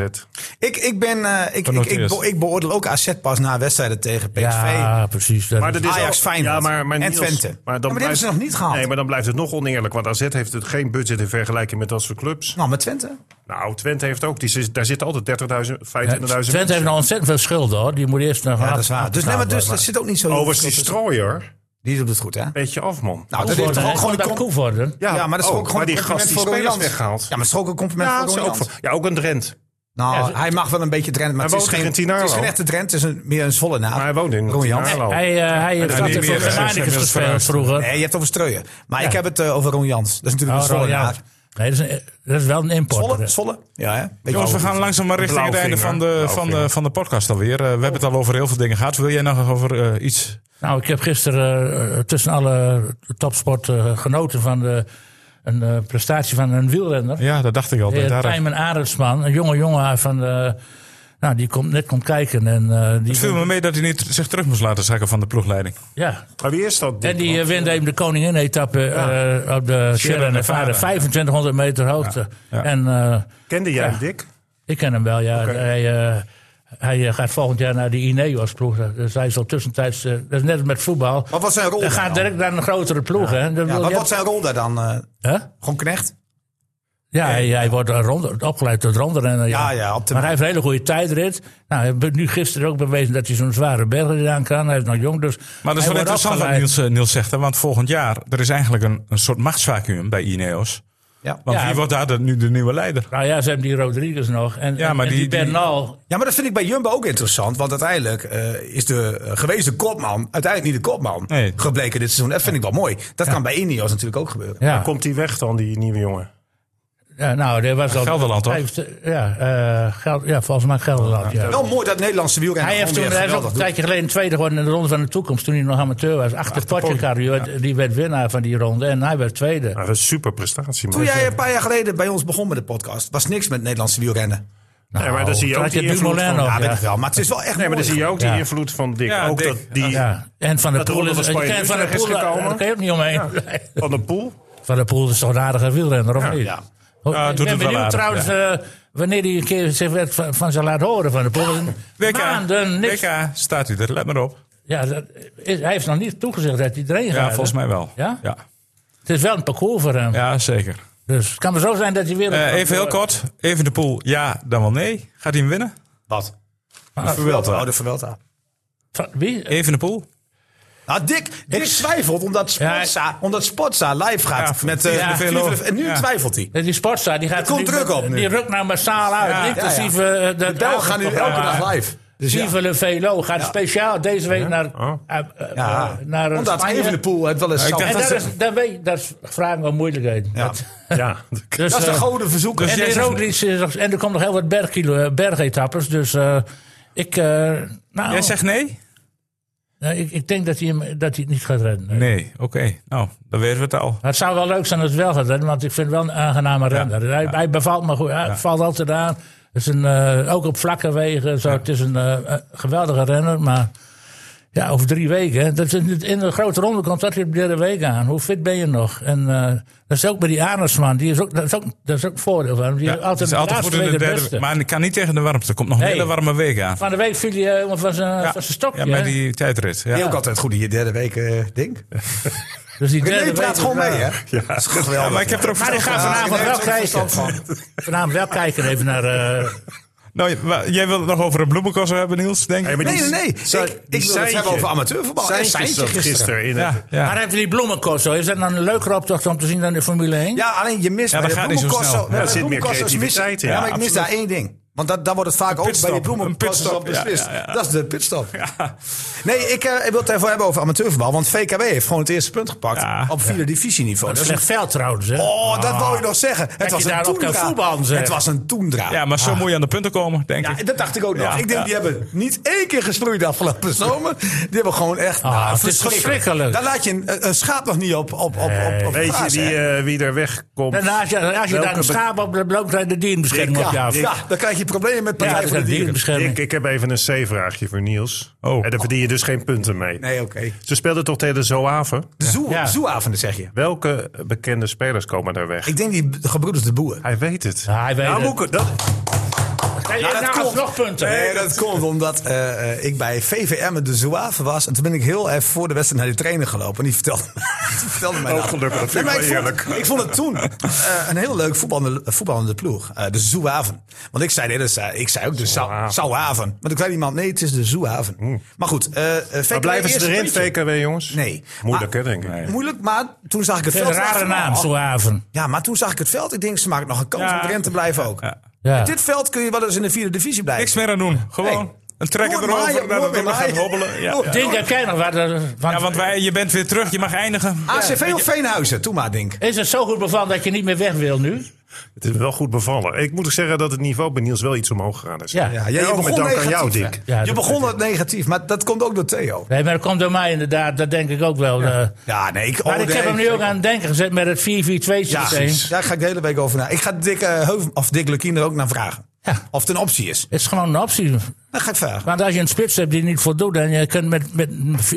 Ik, ik, ben, eh, ik, ik, ik,
Genoteerd.
be- ik beoordeel ook AZ pas na wedstrijden tegen PSV.
ja, precies. Dat
Maar
is-
dat is
Ajax,
al-
Feyenoord
ja, maar, maar
en
Niels,
Twente. Ja, maar die hebben ze nog niet gehaald.
Nee, maar dan blijft het nog oneerlijk. Want AZ heeft het geen budget in vergelijking met dat soort clubs.
Nou, met Twente.
Nou, Twente heeft ook. Die, zit- daar zitten altijd 30.000, 25.000
Twente heeft
mensen.
nog ontzettend veel schulden hoor. Die moet eerst nog
Ja,
af-
dat is waar. Dus, nee, maar dus dat zit ook niet zo...
Overigens, die
dus-
strooier.
Die doet het goed, hè? Nou,
Beetje af, man.
dat is toch ook
Koevoorden,
gewoon
hè?
een
Koevoorden. Koevoorden.
Ja, maar dat is
oh,
ook gewoon
maar die
een
gast
compliment
die
voor
spelers
Roland.
weggehaald.
Ja, maar het is ook een compliment
Ja,
voor
dat is ook
Roland.
voor- ja, ook een Drent.
Nou, hij mag wel een beetje Drent, maar
Hij
het is,
woont
geen,
in Tinarlo.
het is geen echte Drent. Het is een, meer een Zwolle naam.
Maar hij woont in
Roland.
Tinarlo.
Hij, eh, hij heeft
niet
altijd voor
meer, hè.
Germanicus
Ze zijn
gespeeld
dus
vroeger.
Nee, je hebt het over Streuer. Maar
Ja.
ik heb het eh, over Ron Jans. Dat is natuurlijk
Oh,
een Zwolle
Roland.
naam.
Nee, dat is, een- dat is wel een importer.
Zwolle?
hè.
Zwolle? Ja, hè? Beetje
Jongens, we
ouder.
gaan langzaam maar richting het einde van de,
Blauwvinger.
van, de, van de podcast alweer. Eh, we hebben het al over heel veel dingen gehad. Wil jij nog over eh, iets?
Nou, ik heb gisteren eh, tussen alle topsport eh, genoten van de, een eh, prestatie van een wielrenner.
Ja, dat dacht ik al.
Eh,
Daar-
Tijmen Arendsman, een jonge jongen van de, nou, die komt, net komt kijken. En, eh, die
Het viel me mee dat hij niet zich terug moest laten zakken van de ploegleiding.
ja,
Maar wie is dat?
en die eh, winde hem de koningin-etappe eh, op de Sierra Nevada.
Nevada.
2500 meter hoogte.
Ja, ja.
En eh,
Kende jij
Ja.
hem, Dick?
ik ken hem wel, ja. Hij, eh, hij eh, gaat volgend jaar naar de Ineos ploeg. Dus hij is al tussentijds, eh, dat is net als met voetbal.
Wat was zijn rol
Hij
daar
gaat
dan?
direct naar een grotere ploeg. hè. Dan
Ja,
wil
wat
je-
was zijn rol daar dan? eh,
Hè?
gewoon knecht?
Ja, hij, hij wordt een ronde, opgeleid tot rondrennen.
Ja, ja, op de-
maar hij heeft een hele goede tijdrit. Nou, hij heeft nu gisteren ook bewezen dat hij zo'n zware berg aan kan. Hij is nog jong, dus
Maar dat is wel
hij wordt
interessant wat
opgeleid.
Niels, eh, Niels zegt. Hè, want volgend jaar, er is eigenlijk een, een soort machtsvacuum bij Ineos.
Ja.
Want
Ja.
wie wordt daar de, nu de nieuwe leider?
Nou ja, ze hebben die Rodriguez nog. En,
Ja,
en-
maar
en die,
die- die-
Bernal.
Ja, maar dat vind ik bij Jumbo ook interessant. Want uiteindelijk eh, is de eh, gewezen kopman uiteindelijk niet de kopman
Nee.
gebleken dit seizoen. Dat vind ik wel mooi. Dat kan bij Ineos natuurlijk ook gebeuren.
Ja.
Komt die weg dan, die nieuwe jongen?
ja, nou, dat was al.
Gelderland, toch?
Hij heeft, eh, ja, eh, Gel- ja, volgens mij Gelderland. Ja.
Wel mooi dat Nederlandse wielrennen
Hij heeft toen
gewoon
hij
weer
is ook
geweldig
een
doet.
tijdje geleden tweede geworden in de Ronde van de Toekomst. toen hij nog amateur was. Achter Portugal. Die werd- Die werd winnaar van die ronde. En hij werd tweede.
Nou, dat is een super prestatie. man.
Toen jij een paar jaar geleden bij ons begon met de podcast, was niks met Nederlandse wielrennen.
Nee, maar dan zie
Nou, toen
je ook
had je
die invloed
Dumoulin
van...
nog,
Ja,
Ja,
weet ik wel. Maar het is wel echt
Nee, maar dan
mooi.
zie je ook die
Ja.
invloed van Dick.
Ja,
ook
Dick.
dat die
Ja, en Van der
Dat de
Poel
Ronde
is,
van
je
Spanje
kent van der
Utrecht
Poel,
is gekomen.
daar kan je ook niet omheen.
van de poel.
[laughs] Van der Poel is toch een aardige wielrenner, of niet?
Ja.
Ho-
Ja,
ik
doet
ben
het wel
benieuwd
aardig,
trouwens eh, wanneer hij een keer zich werd van, van ze laat horen van de Poel.
WK,
Maanden, niks.
WK, staat u er? Let maar op.
Ja, dat is- hij heeft nog niet toegezegd dat hij erin gaat.
Ja,
hè?
volgens mij wel.
Ja?
Ja,
Het is wel een parcours voor hem.
Ja, zeker.
Dus het kan maar zo zijn dat hij weer...
Eh, even heel kort. Even de pool. Ja, dan wel nee. Gaat hij hem winnen?
Wat?
Verwelta.
Oude Verwelta.
Van- Wie? Eh,
Even de poel.
Nou, Dick, Dick twijfelt omdat Sportza, omdat Sportza live gaat
Ja,
met eh,
ja,
met
Velo.
Velo. En nu
Ja.
twijfelt hij.
Die sportzaal die gaat
Er komt
natuurlijk-
druk op nu.
Die rukt nou massaal uit.
Ja,
inclusief
ja,
eh,
De
dat
Belgen gaan nu elke
avondprogramma.
dag live. Dus ja.
Steven Velo gaat speciaal deze week naar,
Oh.
eh, eh,
Ja.
naar eh,
Omdat
Spanje.
even de poel het wel eens
ik
zal-
dacht
En
En
dat
dat,
is, dat, weet, dat is vragen wel moeilijkheden.
Ja.
Dat, [laughs]
Ja,
dus,
is de
eh,
gouden verzoeker.
en, er is ook iets, eh, en er komt nog heel wat bergkilo, eh, bergetappes. Dus eh, ik, eh, nou,
Jij zegt nee?
nou, ik, ik denk dat hij, hem, dat hij het niet gaat redden.
Nee, oké. Nou, dan weten we het al.
Maar Het zou wel leuk zijn als het wel gaat redden, want ik vind het wel een aangename renner. hij, hij bevalt me goed, hij valt altijd aan. Het is een, eh, ook op vlakke wegen, zo. het is een eh, eh, geweldige renner, maar ja, over drie weken. hè. Dat is niet- in de grote ronde komt dat weer de derde week aan. Hoe fit ben je nog? En eh, dat is ook bij die Arendsman, die is ook, dat, is ook, dat is ook een voordeel van hem. Die
Ja,
is
het
altijd,
is altijd goed in de derde.
beste.
Maar ik kan niet tegen de warmte. Er komt nog een
Nee.
hele warme week aan.
Van de week viel hij eh, van zijn
Ja,
van zijn stokje.
Ja, met
hè.
die tijdrit. Ja.
ook altijd goed in je derde week, eh Dink.
dus die
René
derde
praat
week-
gewoon mee, hè?
ja.
Ja, maar ik heb er ook
Maar ik
verstand van.
ga vanavond wel
René heeft er
kijken. Vanavond wel kijken even naar... eh,
Nou, j- wa- jij wil het nog over een bloemenkas hebben, Niels, denk ik.
maar die-
Nee, nee, nee. Ik,
Zij-
ik
die
wil het hebben
Seintje.
over amateurvoetbal. En
Seintje
Seintje
zat
gisteren.
gisteren in het-
Ja, ja.
Maar even die bloemencorso, is dat dan een leukere optocht om te zien dan de Formule 1?
Ja, alleen je mist
Ja,
bij
dat
de
gaat niet zo
bloemencorso-
snel.
bij
Ja,
de
er zit meer
bloemencorso's mis-
creativiteit in.
Ja,
Ja,
maar ik mis daar
absoluut.
één ding. Want dat, daar wordt het vaak ook bij
pitstop.
die
Een
bloemencorso's
pitstop,
op beslist.
ja, ja, ja.
Dat is de pitstop. Nee, ik, eh, ik wil het even hebben over amateurvoetbal. Want VKW heeft gewoon het eerste punt gepakt
Ja. Ah.
op vierde divisieniveau.
Dat
Dat
is
is
slecht veld trouwens, hè?
Oh, dat wou je nog zeggen. Het was
je
een
daarop kan voetballen,
toendra.
zeg.
Het was een toendra.
ja, maar zo moet je aan de punten komen, denk
Ah. Ja,
ik.
dat dacht ik ook nog.
Ja,
ik denk,
ja.
die hebben niet één keer gesproeid de afgelopen zomer. Die hebben gewoon echt...
Ah,
nou,
het is verschrikkelijk.
Daar laat je een, een schaap nog niet op, op, op, op, op
Weet je
grazen,
die,
hè?
eh, wie er wegkomt?
En als je, als je
Welke
daar een
be-
schaap op loopt, dan krijg je de dierenbescherming
Ja,
op je af.
ja, dan krijg je problemen met
Ja,
Partij
dat
voor
is
de
een
Dieren.
Ik,
dierenbescherming.
ik heb even een C-vraagje voor Niels.
Oh.
En daar verdien je dus geen punten mee.
Nee, oké.
Ze speelden toch tegen de Zoaven?
De zoe-
Ja.
zoeavonden, zeg je.
Welke bekende spelers komen daar weg?
Ik denk die de gebroeders de boer.
Hij weet het.
Ja, hij weet
nou,
het.
Moeke, dat,
Kijk,
Ja,
nou,
dat klopt.
alsnog punten.
Nee, dat komt omdat eh, eh, ik bij VVM de Zouave was. En toen ben ik heel even voor de wedstrijd naar die trainer gelopen. En die vertelde, [laughs] die vertelde mij
Oh,
dat.
gelukkig, dat vind ik
maar
wel
vond-
eerlijk.
Ik vond het toen eh, een heel leuk voetballende, voetballende ploeg. Eh, de Zouaven. Want ik zei, nee, dat is, eh, ik zei ook de Zou- Zouaven. Maar toen zei iemand, nee, het is de Zouaven. Maar goed. eh eh,
maar
VVM
blijven ze
eerste
erin,
puntje.
VKW, jongens?
Nee.
Moeilijk,
Maar-
hè, denk ik.
Moeilijk, maar toen zag ik het
Een
veld.
rare
dacht ik,
naam,
oh,
Zoaven.
Ja, maar toen zag ik het veld. Ik denk, ze maken nog een kans
Ja.
om erin te blijven ook.
Ja.
Dit veld kun je wel eens in de vierde divisie blijven.
Niks meer aan doen. Gewoon
Nee.
een trekker
Mooi maaien,
erover. nou,
mooi
Dat het gaat
maaien.
hobbelen. Ja,
Mooi.
ja.
Dink, dat jij nog wat. eh, Want,
Ja, want wij, je bent weer terug. Je mag eindigen.
ACV of Veenhuizen? Toen maar, denk.
Is het zo goed bevallen dat je niet meer weg wil nu?
Het is wel goed bevallen. Ik moet ook zeggen dat het niveau bij Niels wel iets omhoog gegaan is.
Ja.
Ja,
ja.
jij
En ook
begon
met dank aan
negatief,
jou,
hè?
Dick.
Ja,
je
dat-
begon het negatief, maar dat komt ook door Theo.
Nee, maar dat komt door mij inderdaad, dat denk ik ook wel. eh.
Ja, nee, ik,
maar
oh,
ik heb
nee.
hem nu ook aan het denken gezet met het 4-4-2
Ja,
systeem.
precies. daar ga ik de hele week over na. Ik ga Dick, eh, Heuven- of Dick Lukien er ook naar vragen.
Ja.
Of het een optie is.
Het is gewoon een optie.
Dat ga ik vragen.
Want als je een spits hebt die niet voldoet, en je kunt met, met,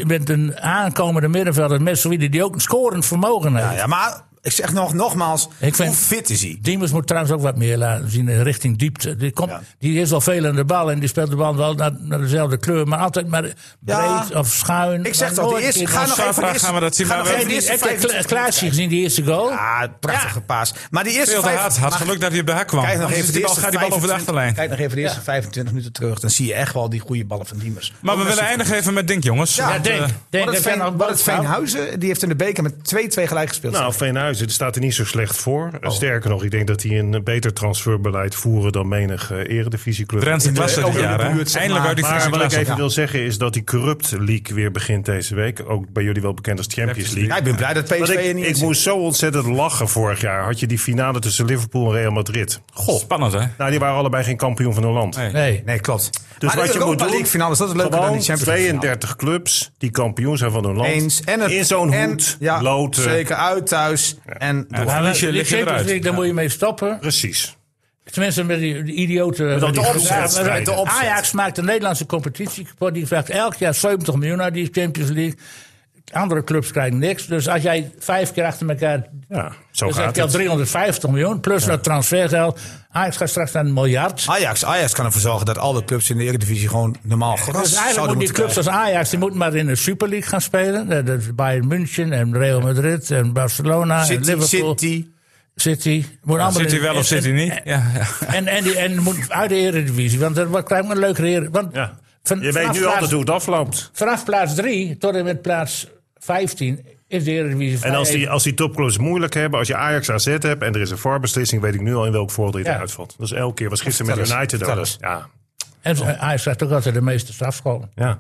met een aankomende middenvelder, met zoiets die ook een scorend vermogen heeft.
Nou Ja, ja, maar ik zeg nog, nogmaals,
vind-
hoe fit is hij?
Diemers moet trouwens ook wat meer laten zien in richting diepte. Die, komt,
Ja.
die is wel veel aan de bal en die speelt de bal wel naar, naar dezelfde kleur, maar altijd maar
Ja.
breed of schuin.
Ik zeg
Maar
toch,
nooit
die eerste,
een keer
ga
van
nog even
zaterdag
zaterdag.
de eerste,
gaan we dat zien,
ga
maar
nog
we-
Heb
even de
je
eerste
die- heb je
25
Klaasje gezien, die eerste goal?
Ja, Ah, prachtige paas. Maar die eerste
Veel te
vijf-
hard. Had
maar-
geluk dat hij op de hak kwam.
Kijk nog
Anders
even
is die
de
bal-
eerste
gaat die bal over de
25
achterlijn.
Kijk nog even de eerste 25 minuten terug. Dan zie je echt wel die goede ballen van Diemers.
Maar we willen eindigen even met Dink, jongens.
Ja,
Ja,
Want,
denk,
eh,
denk dat
Wat het,
jij nog
Veen,
een
wat
boot
het
houdt.
Veenhuizen, die heeft in de beker met 2-2 gelijk gespeeld.
Nou, Veenhuizen staat er niet zo slecht voor. Sterker nog, ik denk dat die een eh, beter transferbeleid voeren dan menig eh, eredivisieclub.
Drentse klasse
ook
dit
in de
jaar. hè?
buurt, zeg
Eindelijk uit
maar.
die
Maar
Friese
wat ik
klasse.
even wil zeggen is dat die Corrupt League weer begint deze week. Ook bij jullie wel bekend als Champions League.
ja, ik ben blij dat PSV
Want
er
ik,
niet
ik
in zit.
moest zo ontzettend lachen vorig jaar. Had je die finale tussen Liverpool en Real Madrid. Goh.
Spannend, hè?
Nou, die waren allebei geen kampioen van hun land.
Nee.
Nee.
Nee, klopt.
Dus
maar
wat je
de
moet
Europa
doen,
League finale is dat leuker dan
gewoon
die Champions League finale.
32 clubs die kampioen zijn van hun land.
Eens. En het,
in zo'n
en-
hoed,
ja,
loten.
Zeker uit, thuis. En door.
Ja,
Maar
verlies je,
die
lig je
Champions
eruit.
League, daar moet je mee stoppen.
Precies.
Tenminste, met die, die idioten. met
dat
die
de
groep-
opzetstrijden.
Ja, met de opzet. Ajax maakt de Nederlandse competitie kapot. Die vraagt elk jaar 70 miljoen uit die Champions League. Andere clubs krijgen niks. Dus als jij vijf keer achter elkaar.
Ja, zo
dan heb
gaat
je al
het.
350 miljoen. Plus dat transfergeld. Ajax gaat straks naar een miljard.
Ajax, Ajax kan ervoor zorgen dat alle clubs in de Eredivisie gewoon normaal gras
Dus eigenlijk
zouden
moeten die
moeten
clubs
krijgen.
als Ajax, die moeten maar in de Super League gaan spelen. Eh, Dat is Bayern München en Real Madrid en Barcelona en
City,
Liverpool.
City,
Zit hij? Moet allemaal
Zit hij
in-
wel of
en-
zit hij
en-
niet? Ja, ja.
En, en, die, en moet uit de Eredivisie, want dan krijgt men een leuke Eredivisie. Want
Ja.
van-
Je weet
vanaf
nu
plaats-
altijd hoe het afloopt.
Vanaf plaats 3 tot en met plaats 15 is de Eredivisie vrij
En als die,
even.
als die topclubs moeilijk hebben, als je Ajax AZ hebt en er is een voorbeslissing, weet ik nu al in welk voordeel je
Ja.
eruit valt. Dat is elke keer. was gisteren met
Vertel eens,
United
vertel
ook.
eens.
Ja.
En ze- Ajax krijgt ook altijd de meeste strafscholen.
Ja.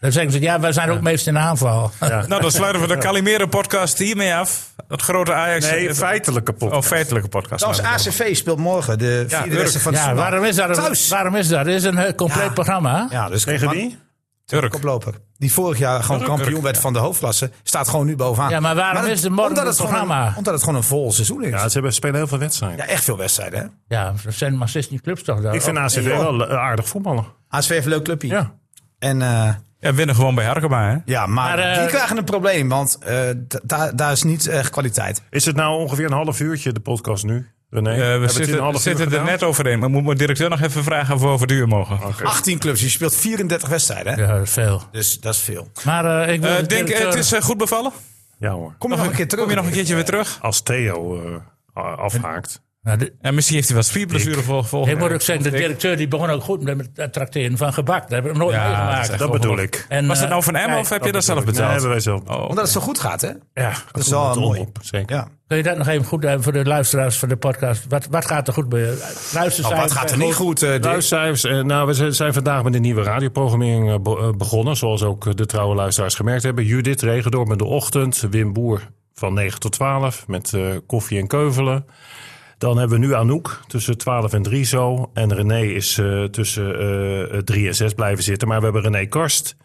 Dan zeggen ze, ja, wij zijn ook meest in de aanval.
Nou, dan sluiten we de Calimere-podcast hiermee af. Het grote Ajax.
Nee, feitelijk kapot.
Oh, feitelijke podcast.
Als
Nou,
ACV speelt morgen de vierde
Urk.
wedstrijd van het
Ja,
journaal.
waarom is dat?
Thuis.
Waarom is dat? Het is een heel compleet
Ja.
programma. hè?
Ja, dus
Tegen
maar-
wie?
Turk.
koploper. Die vorig jaar gewoon
Urk,
kampioen
Urk,
werd
ja.
van de hoofdklasse. Staat gewoon nu bovenaan.
Ja, maar waarom
dat-
is de morgen
omdat
het
het gewoon
programma?
een- omdat het gewoon een vol seizoen is.
Ja,
Ja,
ze hebben, spelen heel veel wedstrijden.
echt veel wedstrijden. Hè?
Ja, dat zijn maar 16 clubs toch? daar?
Ik vind ACV wel eh, aardig voetballen.
ASV heeft een leuk clubje.
Ja.
En, eh,
Ja, winnen gewoon bij Harkema, hè?
ja, maar,
Maar, eh,
die krijgen een probleem, want eh, da- daar- daar is niet echt kwaliteit.
Is het nou ongeveer een half uurtje, de podcast nu? René?
Eh,
Hebben
we
het in een
zitten,
half uur
zitten er
gedaan?
net overheen. Maar moet mijn directeur nog even vragen of we over duur mogen. Eh,
18 clubs, dus je speelt 34 wedstrijden. Hè?
Ja, dat is veel.
Dus dat is veel.
Maar eh, ik wil
Eh,
de
denk, eh,
directeur-
het is eh, goed bevallen.
Ja hoor.
Kom je nog een keer terug?
Kom je nog een keertje weer terug?
Als Theo eh, afhaakt.
Nou, de-
En misschien heeft hij wat spierblessure vol- volgende
ik moet ook
week.
zeggen, de directeur die begon ook goed met het trakteren van gebak. Dat hebben we nog nooit
Ja,
meegemaakt.
dat
Dat bedoel ik.
En,
Was dat
eh,
nou van Emma
kijk,
of heb je dat
bedoel
zelf
ik. Nee,
betaald?
hebben wij zelf.
Oh,
Omdat het zo goed gaat, hè?
Ja,
Dat is wel mooi.
Zeker.
Ja.
Kun je dat nog even goed eh, voor de luisteraars van de podcast? Wat, wat gaat er goed bij je? Luister
Nou, wat gaat er niet goed, eh, Dirk?
Luistercijfers. eh, Nou, we zijn- zijn vandaag met een nieuwe radioprogrammering eh, be- eh, begonnen. Zoals ook eh, de trouwe luisteraars gemerkt hebben. Judith Regendoor met de ochtend. Wim Boer van 9 tot 12 met eh, koffie en keuvelen. Dan hebben we nu Anouk tussen 12 en 3 zo. En René is eh, tussen eh 3 en 6 blijven zitten. Maar we hebben René Karst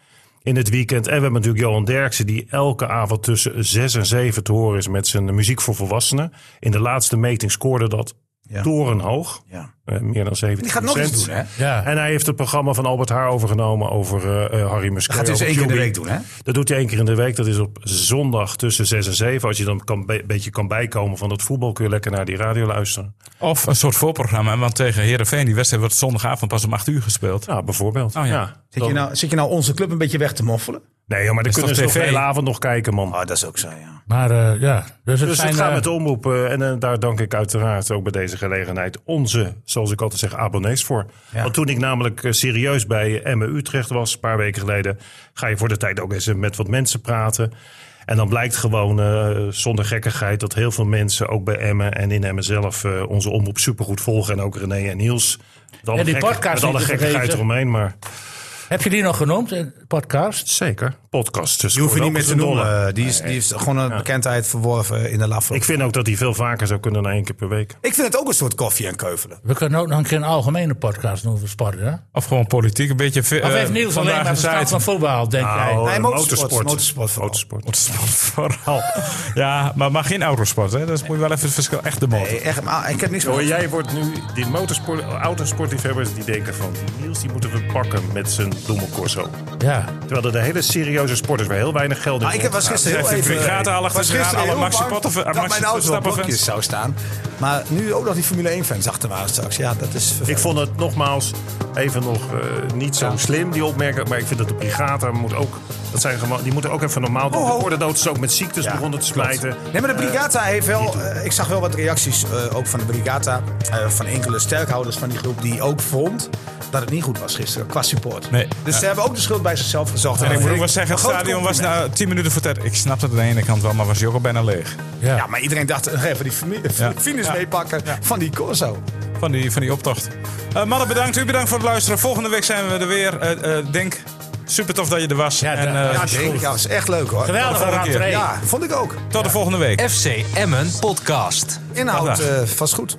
in het weekend. En we hebben natuurlijk Johan Derksen, die elke avond tussen 6 en 7 te horen is met zijn muziek voor volwassenen. In de laatste meting scoorde dat
Ja.
torenhoog.
Ja.
Eh, meer dan 70
Die gaat nog iets doen, hè?
Ja.
En hij heeft het programma van Albert Haar overgenomen over eh, eh, Harry Musquet.
Dat gaat
over
hij dus één keer in de
QB.
week doen, hè?
Dat doet hij één keer in de week. Dat is op zondag tussen 6 en 7. Als je dan een beetje kan bijkomen van dat voetbal, kun je lekker naar die radio luisteren.
Of een soort voorprogramma. Want tegen Herenveen, die wedstrijd wordt zondagavond pas om 8 uur gespeeld.
Ah,
Ja, bijvoorbeeld.
Oh ja.
Zit je, nou, zit je nou onze club een beetje weg te moffelen?
Nee, joh, maar dan
Is
kunnen
toch
ze toch de
TV?
hele avond nog kijken, man.
Oh, dat is ook zo, ja.
Maar eh, ja, dus het
Dus
zijn...
het gaat
eh,
met de omroep. eh, en eh, daar dank ik uiteraard ook bij deze gelegenheid onze, zoals ik altijd zeg, abonnees voor.
Ja.
Want toen ik namelijk eh, serieus bij Emme Utrecht was, een paar weken geleden, ga je voor de tijd ook eens eh, met wat mensen praten. En dan blijkt gewoon eh, zonder gekkigheid dat heel veel mensen ook bij Emmen en in Emmen zelf eh, onze omroep supergoed volgen. En ook René en Niels. Met alle
En die
gekke-
podcast
met alle
niet te
gekkigheid
vergeten.
eromheen, maar
Heb je die nog genoemd, in de podcast?
zeker. Podcast. Dus
Je hoeft er niet
gewoon
meer
ook eens
te
een dollar.
noemen. Eh, Die is, die is gewoon een bekendheid verworven in de laf.
Ik vind ook dat die veel vaker zou kunnen dan één keer per week.
Ik vind het ook een soort koffie en keuvelen.
We kunnen ook nog een keer een algemene podcast doen voor sport, hè?
Of gewoon politiek. Een beetje... eh,
Of heeft Niels alleen maar verstand van voetbal, denk jij?
Nou,
Nee,
eh,
motorsport,
motorsport.
motorsport vooral.
[laughs] Vooral. Ja, maar, maar geen autosport. Hè? Dat moet je wel even het verschil. Echt de motor.
Nee, echt, maar ik heb niks
Hoor,
meer.
jij wordt nu, die motorsport, autosportliefhebbers die denken van, die Niels die moeten we pakken met zijn bloemencorso.
Ja.
Terwijl er de hele serieuze sporters waar heel weinig geld in
Nou, ik heb was
rondgaan.
gisteren heel
Zegt hij,
even...
"Brigade halen achter
was
zich aan,
gisteren
alle
heel
Maxi
bang
Potter- eh,
dat
Maxi
mijn auto op
Verstappen
blokjes
fans.
zou staan. Maar nu ook nog die Formule 1 fans achter me aan straks. Ja, dat is
Ik
vervelend.
vond het nogmaals even nog eh, niet zo slim, die opmerking. Maar ik vind dat de brigata moet ook, dat zijn gewoon, die moeten ook even normaal doen.
Ho, Oh, ho.
De woordendood is ook met ziektes begonnen te smijten.
Nee, maar de Brigata heeft wel. eh, ik zag wel wat reacties eh, ook van de Brigata. eh, van enkele sterkhouders van die groep. die ook vond dat het niet goed was gisteren qua support.
Nee.
Dus ze hebben ook de schuld bij zichzelf gezocht.
En ik moet ook
Een
wel zeggen, het
groot
stadion was
compliment.
na 10 minuten voor tijd. Ik snap het aan de ene kant wel, maar was hij ook al bijna leeg.
Ja.
Ja, maar iedereen dacht. eh, even die fami- finish
Ja.
meepakken van die Corso.
Van die, van die optocht. Eh, mannen, bedankt. U bedankt voor het luisteren. Volgende week zijn we er weer. Eh, eh, Denk, super tof dat je er was.
Ja,
en, eh,
dat-
Ja, denk ik. Ja, was echt leuk hoor.
Geweldig,
volgende
Raan
keer.
Tree.
Ja, vond ik ook.
tot de volgende week.
FC Emmen Podcast.
Inhoud
Dag.
eh, vast goed.